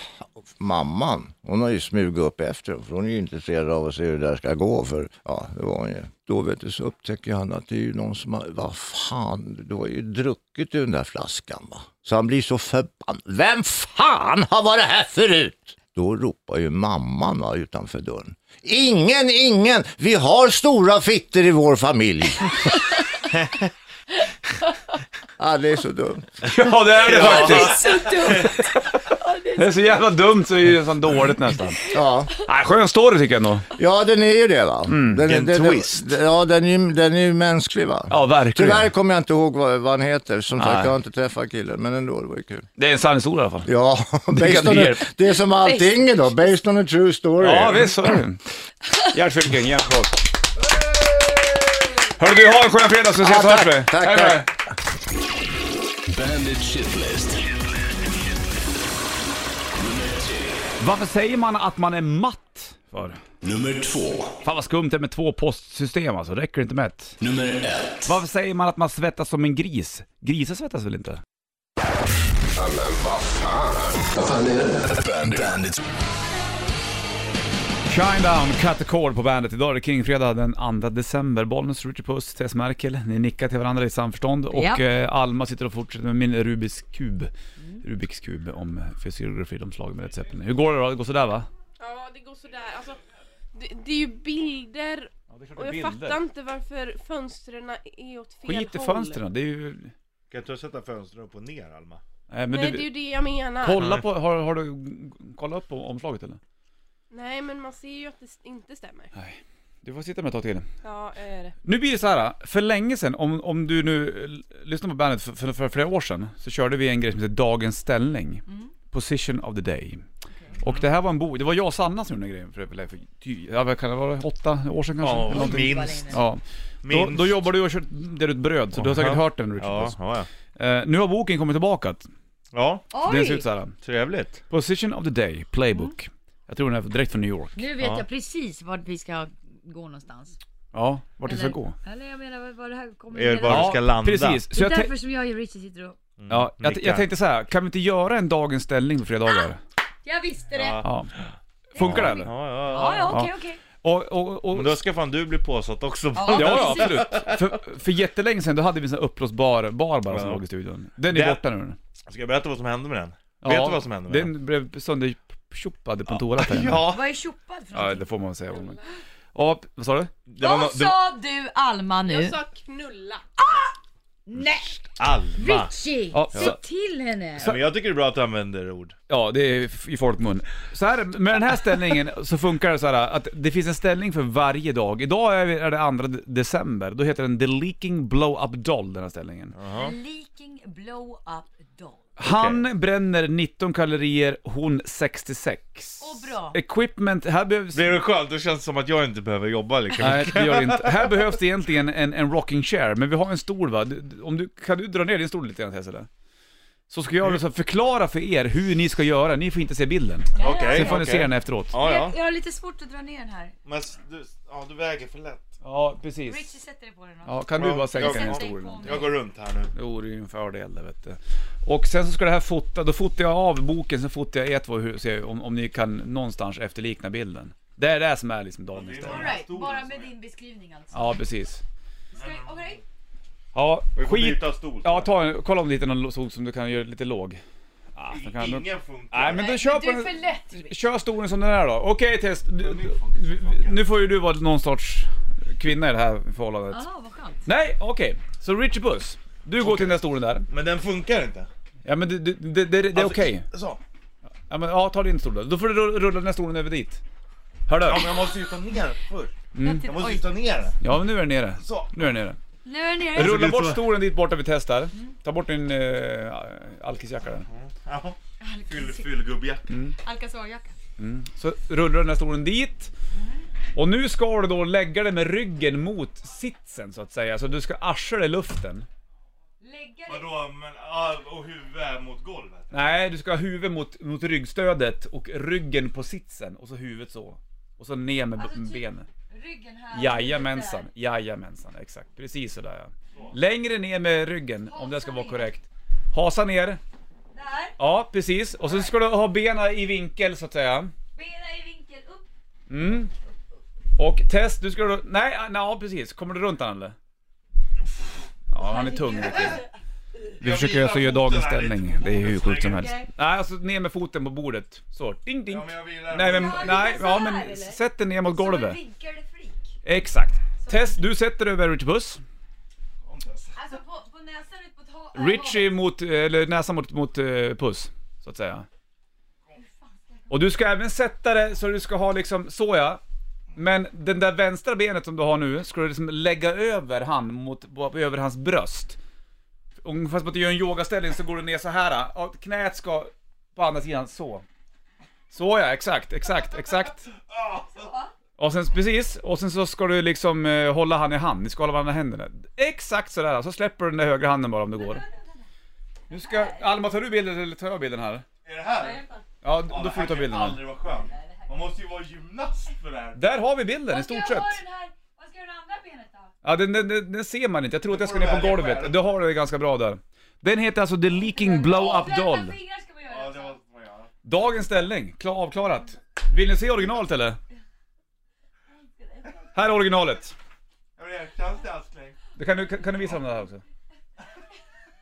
[SPEAKER 9] mamman, hon har ju smugit upp efter dem, för hon är ju intresserad av att se hur det där ska gå, för ja, det var hon ju. Då vet du, så upptäcker han att det är ju någon som har, vad fan, du har ju druckit ur den där flaskan va. Så han blir så förbannad. Vem fan har varit här förut? Då ropar ju mamman va, utanför dörren. Ingen, ingen! Vi har stora fitter i vår familj. ja, det är så dumt.
[SPEAKER 1] Ja, det är det
[SPEAKER 3] Det
[SPEAKER 1] faktiskt.
[SPEAKER 3] är så dumt!
[SPEAKER 1] Det är så jävla dumt så det är nästan dåligt nästan.
[SPEAKER 9] Ja.
[SPEAKER 1] Nej, skön story tycker jag ändå.
[SPEAKER 9] Ja, den är ju det va.
[SPEAKER 1] Mm.
[SPEAKER 9] den,
[SPEAKER 2] vilken
[SPEAKER 9] den, den-
[SPEAKER 2] twist.
[SPEAKER 9] Den, ja, den är, ju- den är ju mänsklig va.
[SPEAKER 1] Ja, verkligen.
[SPEAKER 9] Tyvärr kommer jag inte ihåg vad, vad han heter. Som
[SPEAKER 1] Nej.
[SPEAKER 9] sagt, jag har inte träffat killen, men ändå, det var ju kul.
[SPEAKER 1] Det är en sann historia i alla fall.
[SPEAKER 9] Ja,
[SPEAKER 1] kan
[SPEAKER 9] based on
[SPEAKER 1] du
[SPEAKER 9] a,
[SPEAKER 1] hjälpa.
[SPEAKER 9] det är som allting idag, based on a true story.
[SPEAKER 1] Ja, visst så är det. Gert Fylking, hjärtklart. Hörru du, ha en skön fredag så ses och
[SPEAKER 9] Ja,
[SPEAKER 1] hörs
[SPEAKER 9] tack,
[SPEAKER 1] vi.
[SPEAKER 9] tack,
[SPEAKER 1] Hej med
[SPEAKER 9] tack.
[SPEAKER 1] dig.
[SPEAKER 4] Bandit Shitlist.
[SPEAKER 1] Varför säger man att man är matt? För?
[SPEAKER 4] Nummer två.
[SPEAKER 1] Fan vad skumt det är med två postsystem alltså, räcker det inte med ett?
[SPEAKER 4] Nummer ett.
[SPEAKER 1] Varför säger man att man svettas som en gris? Grisar svettas väl inte?
[SPEAKER 4] Bandit. Bandit.
[SPEAKER 1] Shinedown, Cut the Cord på bandet. Idag är det Kingfredag den 2 december. Bollnäs, Richard Puss, Tess Merkel. Ni nickar till varandra i samförstånd. Och
[SPEAKER 3] Ja.
[SPEAKER 1] eh, Alma sitter och fortsätter med min Rubiks kub. Rubiks kub om fysiografilomslag med Led Zeppelin. Hur går det då? Det går sådär va?
[SPEAKER 6] Ja, det går sådär. Alltså, det, det är ju bilder och jag fattar inte varför fönstren är åt fel
[SPEAKER 1] Skit i
[SPEAKER 6] håll.
[SPEAKER 1] fönstren. Det är ju...
[SPEAKER 2] Kan inte du sätta fönstren upp och ner Alma?
[SPEAKER 1] Nej, men
[SPEAKER 6] Nej,
[SPEAKER 1] du...
[SPEAKER 6] det är ju det jag menar.
[SPEAKER 1] Kolla på... Har, har du kollat upp om- omslaget eller?
[SPEAKER 6] Nej men man ser ju att det s- inte stämmer.
[SPEAKER 1] Du får sitta med ett tag till.
[SPEAKER 6] Ja, jag gör det.
[SPEAKER 1] Nu blir det så här, för länge sedan, om, om du nu eh, lyssnar på bandet för, för, för flera år sedan, så körde vi en grej som heter Dagens ställning.
[SPEAKER 3] Mm.
[SPEAKER 1] Position of the day. Och det här var en bok, det var jag och Sanna som gjorde den grejen för, för, för ty- ja, vad kan det vara, åtta år sedan kanske?
[SPEAKER 2] Ja,
[SPEAKER 1] Eller någonting.
[SPEAKER 2] minst.
[SPEAKER 1] ja. Då,
[SPEAKER 2] minst.
[SPEAKER 1] då jobbar du och kör där ut bröd, så du har säkert
[SPEAKER 2] Aha.
[SPEAKER 1] hört den Richard.
[SPEAKER 2] Ja,
[SPEAKER 1] Puss.
[SPEAKER 2] ja, ja.
[SPEAKER 1] Eh, nu har boken kommit tillbaka,
[SPEAKER 2] ja,
[SPEAKER 1] den ser
[SPEAKER 3] Oj! Mm.
[SPEAKER 1] ut så här.
[SPEAKER 2] trevligt.
[SPEAKER 1] Position of the day, playbook. Jag tror den är direkt från New York.
[SPEAKER 3] Nu vet
[SPEAKER 2] Ja.
[SPEAKER 3] jag precis vart vi ska gå någonstans.
[SPEAKER 1] Ja, vart det ska
[SPEAKER 3] Eller-
[SPEAKER 1] gå.
[SPEAKER 3] Eller jag menar, vad- vad det här kommer
[SPEAKER 2] Är det bara-
[SPEAKER 3] Ja.
[SPEAKER 2] ska landa.
[SPEAKER 1] precis.
[SPEAKER 3] Det
[SPEAKER 1] Så
[SPEAKER 3] är
[SPEAKER 1] jag, tän-
[SPEAKER 3] därför som jag och Richie sitter och...
[SPEAKER 2] Mm.
[SPEAKER 1] ja, jag,
[SPEAKER 2] nickar.
[SPEAKER 1] jag tänkte så här, kan vi inte göra en dagens ställning på fredagar?
[SPEAKER 3] Jag visste det!
[SPEAKER 1] Ja. Funkar det eller?
[SPEAKER 2] Ja, ja, ja.
[SPEAKER 3] Ja, ja, okej, okej.
[SPEAKER 1] Och, och, och,
[SPEAKER 2] Men då ska fan du bli påsatt också.
[SPEAKER 1] Ja,
[SPEAKER 3] Ja.
[SPEAKER 1] ja absolut. För, för jättelänge sedan då hade vi en sån här uppblåsbar bar bara som
[SPEAKER 2] Ja.
[SPEAKER 1] låg i studion. Den är
[SPEAKER 2] Det-
[SPEAKER 1] borta nu.
[SPEAKER 2] Ska jag berätta vad som hände med den?
[SPEAKER 1] Ja,
[SPEAKER 2] Vet du vad som hände med den?
[SPEAKER 1] Den blev söndertjoppad på toaletten.
[SPEAKER 2] Ja,
[SPEAKER 3] Vad är tjoppad för
[SPEAKER 1] Ja,
[SPEAKER 3] någonting?
[SPEAKER 1] det får man säga. Ja, vad sa du?
[SPEAKER 2] det var,
[SPEAKER 3] Vad
[SPEAKER 2] no- det var
[SPEAKER 3] sa du Alma nu?
[SPEAKER 6] Jag sa knulla.
[SPEAKER 3] Nej!
[SPEAKER 2] Alma.
[SPEAKER 3] Richie!
[SPEAKER 1] Ja,
[SPEAKER 3] Se
[SPEAKER 1] så-
[SPEAKER 3] till henne!
[SPEAKER 2] Ja, men jag tycker det är bra att du använder ord.
[SPEAKER 1] Ja, det är f- i folkmun. Så här, med den här ställningen så funkar det så här att det finns en ställning för varje dag. Idag är vi- är det 2 december, då heter den The Leaking Blow Up Doll, den här ställningen.
[SPEAKER 3] Leaking blow up doll.
[SPEAKER 1] Han bränner 19 kalorier, hon 66.
[SPEAKER 3] Och bra.
[SPEAKER 1] Equipment, här behövs...
[SPEAKER 2] Blir det skönt? Då känns det som att jag inte behöver jobba liksom.
[SPEAKER 1] Nej, det gör det inte. Här behövs det egentligen en, en rocking chair, men vi har en stol va? Du- du- Om du, kan du dra ner din stol lite grann Tess, eller? Så ska
[SPEAKER 2] Mm.
[SPEAKER 1] jag liksom förklara för er hur ni ska göra, ni får inte se bilden.
[SPEAKER 2] Okej,
[SPEAKER 1] Sen
[SPEAKER 2] okej.
[SPEAKER 1] får ni se den efteråt.
[SPEAKER 2] Ja, ja.
[SPEAKER 3] Jag, jag har lite svårt att dra ner den här.
[SPEAKER 2] Men s- du, ja, du väger för lätt.
[SPEAKER 1] Ja, precis.
[SPEAKER 3] Richie sätter dig på den.
[SPEAKER 1] Ja, kan du bara sänka den
[SPEAKER 2] Jag
[SPEAKER 1] stolen?
[SPEAKER 2] Jag går runt här nu.
[SPEAKER 1] Jo, det är ju en fördel det vet du. Och sen så ska det här fota, då fotar jag av boken, sen fotar jag ett, vad- hur, se om, om ni kan någonstans efterlikna bilden. Det är det som är liksom dagens ställning.
[SPEAKER 3] Alright, bara med din beskrivning alltså.
[SPEAKER 1] Ja, precis.
[SPEAKER 3] Ska jag- Okej?
[SPEAKER 1] Ja,
[SPEAKER 2] Vi får
[SPEAKER 1] skit...
[SPEAKER 2] byta stol.
[SPEAKER 1] Ja, ta, en- kolla om du hittar någon sol som du kan göra lite låg. Ah, så kan du...
[SPEAKER 2] Ingen funkar.
[SPEAKER 1] Nej, men då
[SPEAKER 3] Nej,
[SPEAKER 1] kör
[SPEAKER 3] Du
[SPEAKER 1] på
[SPEAKER 3] är för
[SPEAKER 1] den...
[SPEAKER 3] lätt Richie.
[SPEAKER 1] Kör stolen som den är då. Okej Tess, du,
[SPEAKER 2] min funkar,
[SPEAKER 1] du-
[SPEAKER 2] funkar.
[SPEAKER 1] nu får ju du vara någon sorts kvinna i det här förhållandet.
[SPEAKER 3] Jaha, Ah, vad skönt.
[SPEAKER 1] Nej, okej. Så Richie Puss, du går till den där stolen där.
[SPEAKER 2] Men den funkar inte.
[SPEAKER 1] Ja men det, det, det, det, det är
[SPEAKER 2] Alltså,
[SPEAKER 1] okej.
[SPEAKER 2] Så.
[SPEAKER 1] Ja men ja, ta din stol då. Då får du rulla- rulla den här stolen över dit. Hör du?
[SPEAKER 2] Ja, men jag måste ju ta ner först.
[SPEAKER 1] Mm.
[SPEAKER 2] Jag måste ju
[SPEAKER 3] Oj,
[SPEAKER 2] ta ner den.
[SPEAKER 1] Ja men nu är den nere.
[SPEAKER 2] Så.
[SPEAKER 1] Nu är den nere.
[SPEAKER 3] nu är den nere.
[SPEAKER 1] Rulla bort stolen dit borta vid test där. Ta bort din eh, alkisjacka där.
[SPEAKER 2] Ja. Fyll, fyll gubbjacka.
[SPEAKER 3] Alcazarjacka.
[SPEAKER 1] Så rullar den här stolen dit. Och nu ska du då lägga dig med ryggen mot sitsen så att säga. Så du ska arsla i luften.
[SPEAKER 3] Lägga dig.
[SPEAKER 2] Vadå, men, ja, och huvudet mot golvet?
[SPEAKER 1] Nej, du ska ha huvudet mot, mot ryggstödet och ryggen på sitsen. Och så huvudet så. Och så ner med
[SPEAKER 3] Alltså,
[SPEAKER 1] alltså,
[SPEAKER 3] typ-
[SPEAKER 1] benen.
[SPEAKER 3] Ryggen här.
[SPEAKER 1] Jajamensan,
[SPEAKER 3] Där.
[SPEAKER 1] jajamensan, exakt. Precis sådär ja. Längre ner med ryggen, om det ska vara korrekt. Hasa ner.
[SPEAKER 3] Där.
[SPEAKER 1] Ja, precis. Och sen ska du ha benen i vinkel så att säga.
[SPEAKER 3] Bena i vinkel upp.
[SPEAKER 1] Mm. Och test, du ska då... Nej, ah, nej, precis. Kommer du runt han eller? Ja, han är tung. vet du. Vi försöker alltså göra dagens ställning. Det är hur sjukt som helst. Nej, alltså ner med foten på bordet. Så, ding ding.
[SPEAKER 2] Ja, men jag vilar.
[SPEAKER 1] Nej, men,
[SPEAKER 3] Ja, lite
[SPEAKER 1] nej, ja,
[SPEAKER 3] så här,
[SPEAKER 1] men
[SPEAKER 3] eller?
[SPEAKER 1] sätt dig ner mot
[SPEAKER 3] Som en
[SPEAKER 1] golvet.
[SPEAKER 3] vinkade freak.
[SPEAKER 1] Exakt. Test, du sätter dig över Richie Puss.
[SPEAKER 3] Alltså på, på näsan ut mot havet.
[SPEAKER 1] Richie mot, eller näsan mot, mot eh, puss, så att säga. Och du ska även sätta det så du ska ha liksom, så ja. Men den där vänstra benet som du har nu, ska du liksom lägga över han mot, på- över hans bröst. Ungefär som att du gör en yogaställning så går du ner så här. Och knät ska på andra sidan, så. Så ja, exakt, exakt, exakt. Och sen, precis, och sen så ska du liksom eh, hålla han i hand, ni ska hålla varandra i händerna. Exakt sådär, så släpper du den där högra handen bara om det går. Nu ska, Alma tar du bilden eller tar jag bilden här?
[SPEAKER 2] Är det här?
[SPEAKER 1] Ja, d- då får du ta bilden här.
[SPEAKER 2] aldrig vara skönt. Man måste ju vara gymnast för det här.
[SPEAKER 1] Där har vi bilden i
[SPEAKER 3] Vad ska
[SPEAKER 1] stort
[SPEAKER 3] jag
[SPEAKER 1] sett.
[SPEAKER 3] ha den här- Vad ska jag ha det andra benet då?
[SPEAKER 1] Ja, den, den, den, den ser man inte, jag tror att jag ska
[SPEAKER 2] får du
[SPEAKER 1] ner på
[SPEAKER 2] välja själv.
[SPEAKER 1] golvet. Du har det ganska bra där. Den heter alltså The Leaking Blow Up
[SPEAKER 3] Blöta
[SPEAKER 1] Doll.
[SPEAKER 3] fingrar ska man göra.
[SPEAKER 2] Ja, det
[SPEAKER 3] också.
[SPEAKER 2] måste man göra.
[SPEAKER 1] Dagens ställning, klar, avklarat. Vill ni se originalet eller? Här är originalet.
[SPEAKER 2] Jag vill känns det älskling?
[SPEAKER 1] Det kan, du, kan, kan du visa dem det här också?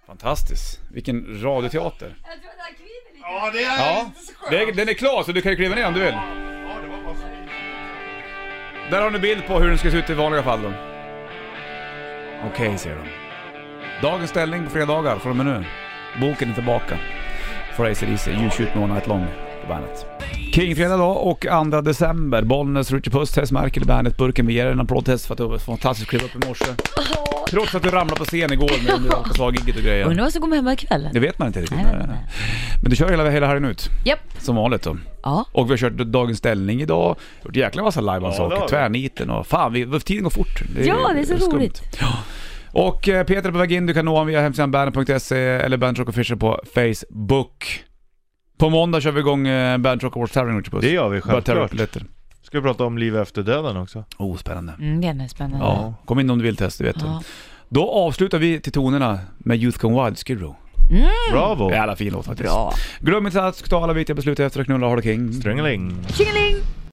[SPEAKER 1] Fantastiskt, vilken radioteater.
[SPEAKER 3] Jag tror att han kvider lite.
[SPEAKER 2] Ja, det är
[SPEAKER 1] Ja,
[SPEAKER 2] inte så skönt.
[SPEAKER 1] det är- den är klar så du kan ju kliva ner om du vill.
[SPEAKER 2] Ja, det var bara så
[SPEAKER 1] Där har ni bild på hur den ska se ut i vanliga fall då. Okej, säger de. Dagens ställning på fredagar från och med nu. Boken är tillbaka. For Easy, You Shoot Me All Night Long på bandet. Kingfredag då och 2 december. Bollnäs, Richie Puss, Tess Merkel, Bandet, Burken. Vi ger er en applåd Tess för att du var fantastiskt kliva upp i morse. Trots att du ramlade på scen igår med Underhållningsslag-giget och grejer.
[SPEAKER 3] Undrar vad som kommer hemma
[SPEAKER 1] Det
[SPEAKER 3] ikväll?
[SPEAKER 1] vet man inte riktigt.
[SPEAKER 3] Nej, nej, nej.
[SPEAKER 1] Men du kör hela, hela helgen ut,
[SPEAKER 3] Japp.
[SPEAKER 1] som vanligt då.
[SPEAKER 3] Ja.
[SPEAKER 1] Och vi har kört Dagens Ställning idag, gjort jäkla massa livebandssaker,
[SPEAKER 2] det har vi.
[SPEAKER 1] tvärniten och fan, vi, tiden går fort.
[SPEAKER 3] Ja, det är så
[SPEAKER 1] skumt.
[SPEAKER 3] roligt.
[SPEAKER 1] Ja. Och eh, Peter är på väg in, du kan nå honom via hemsidan bandrock.se eller Bandrock Official på Facebook. På måndag kör vi igång eh, Bandrock Awards-tävlingen, Richard Puss.
[SPEAKER 2] Det gör vi
[SPEAKER 1] Bara terror
[SPEAKER 2] självklart.
[SPEAKER 1] biljetter.
[SPEAKER 2] Ska vi prata om liv efter döden också?
[SPEAKER 1] Oh, spännande.
[SPEAKER 3] Mm, det är nog spännande.
[SPEAKER 1] Ja, kom in om du vill testa, vet du.
[SPEAKER 3] Ja.
[SPEAKER 1] Då avslutar vi till tonerna med Youth Gone Wild, Skid Row.
[SPEAKER 2] Bravo!
[SPEAKER 3] Mm,
[SPEAKER 1] Jävla fin låt faktiskt.
[SPEAKER 3] Bra.
[SPEAKER 1] Glöm inte att ta alla viktiga beslut efter att knulla och ha det king.
[SPEAKER 2] Strängeling!
[SPEAKER 3] Tjingeling!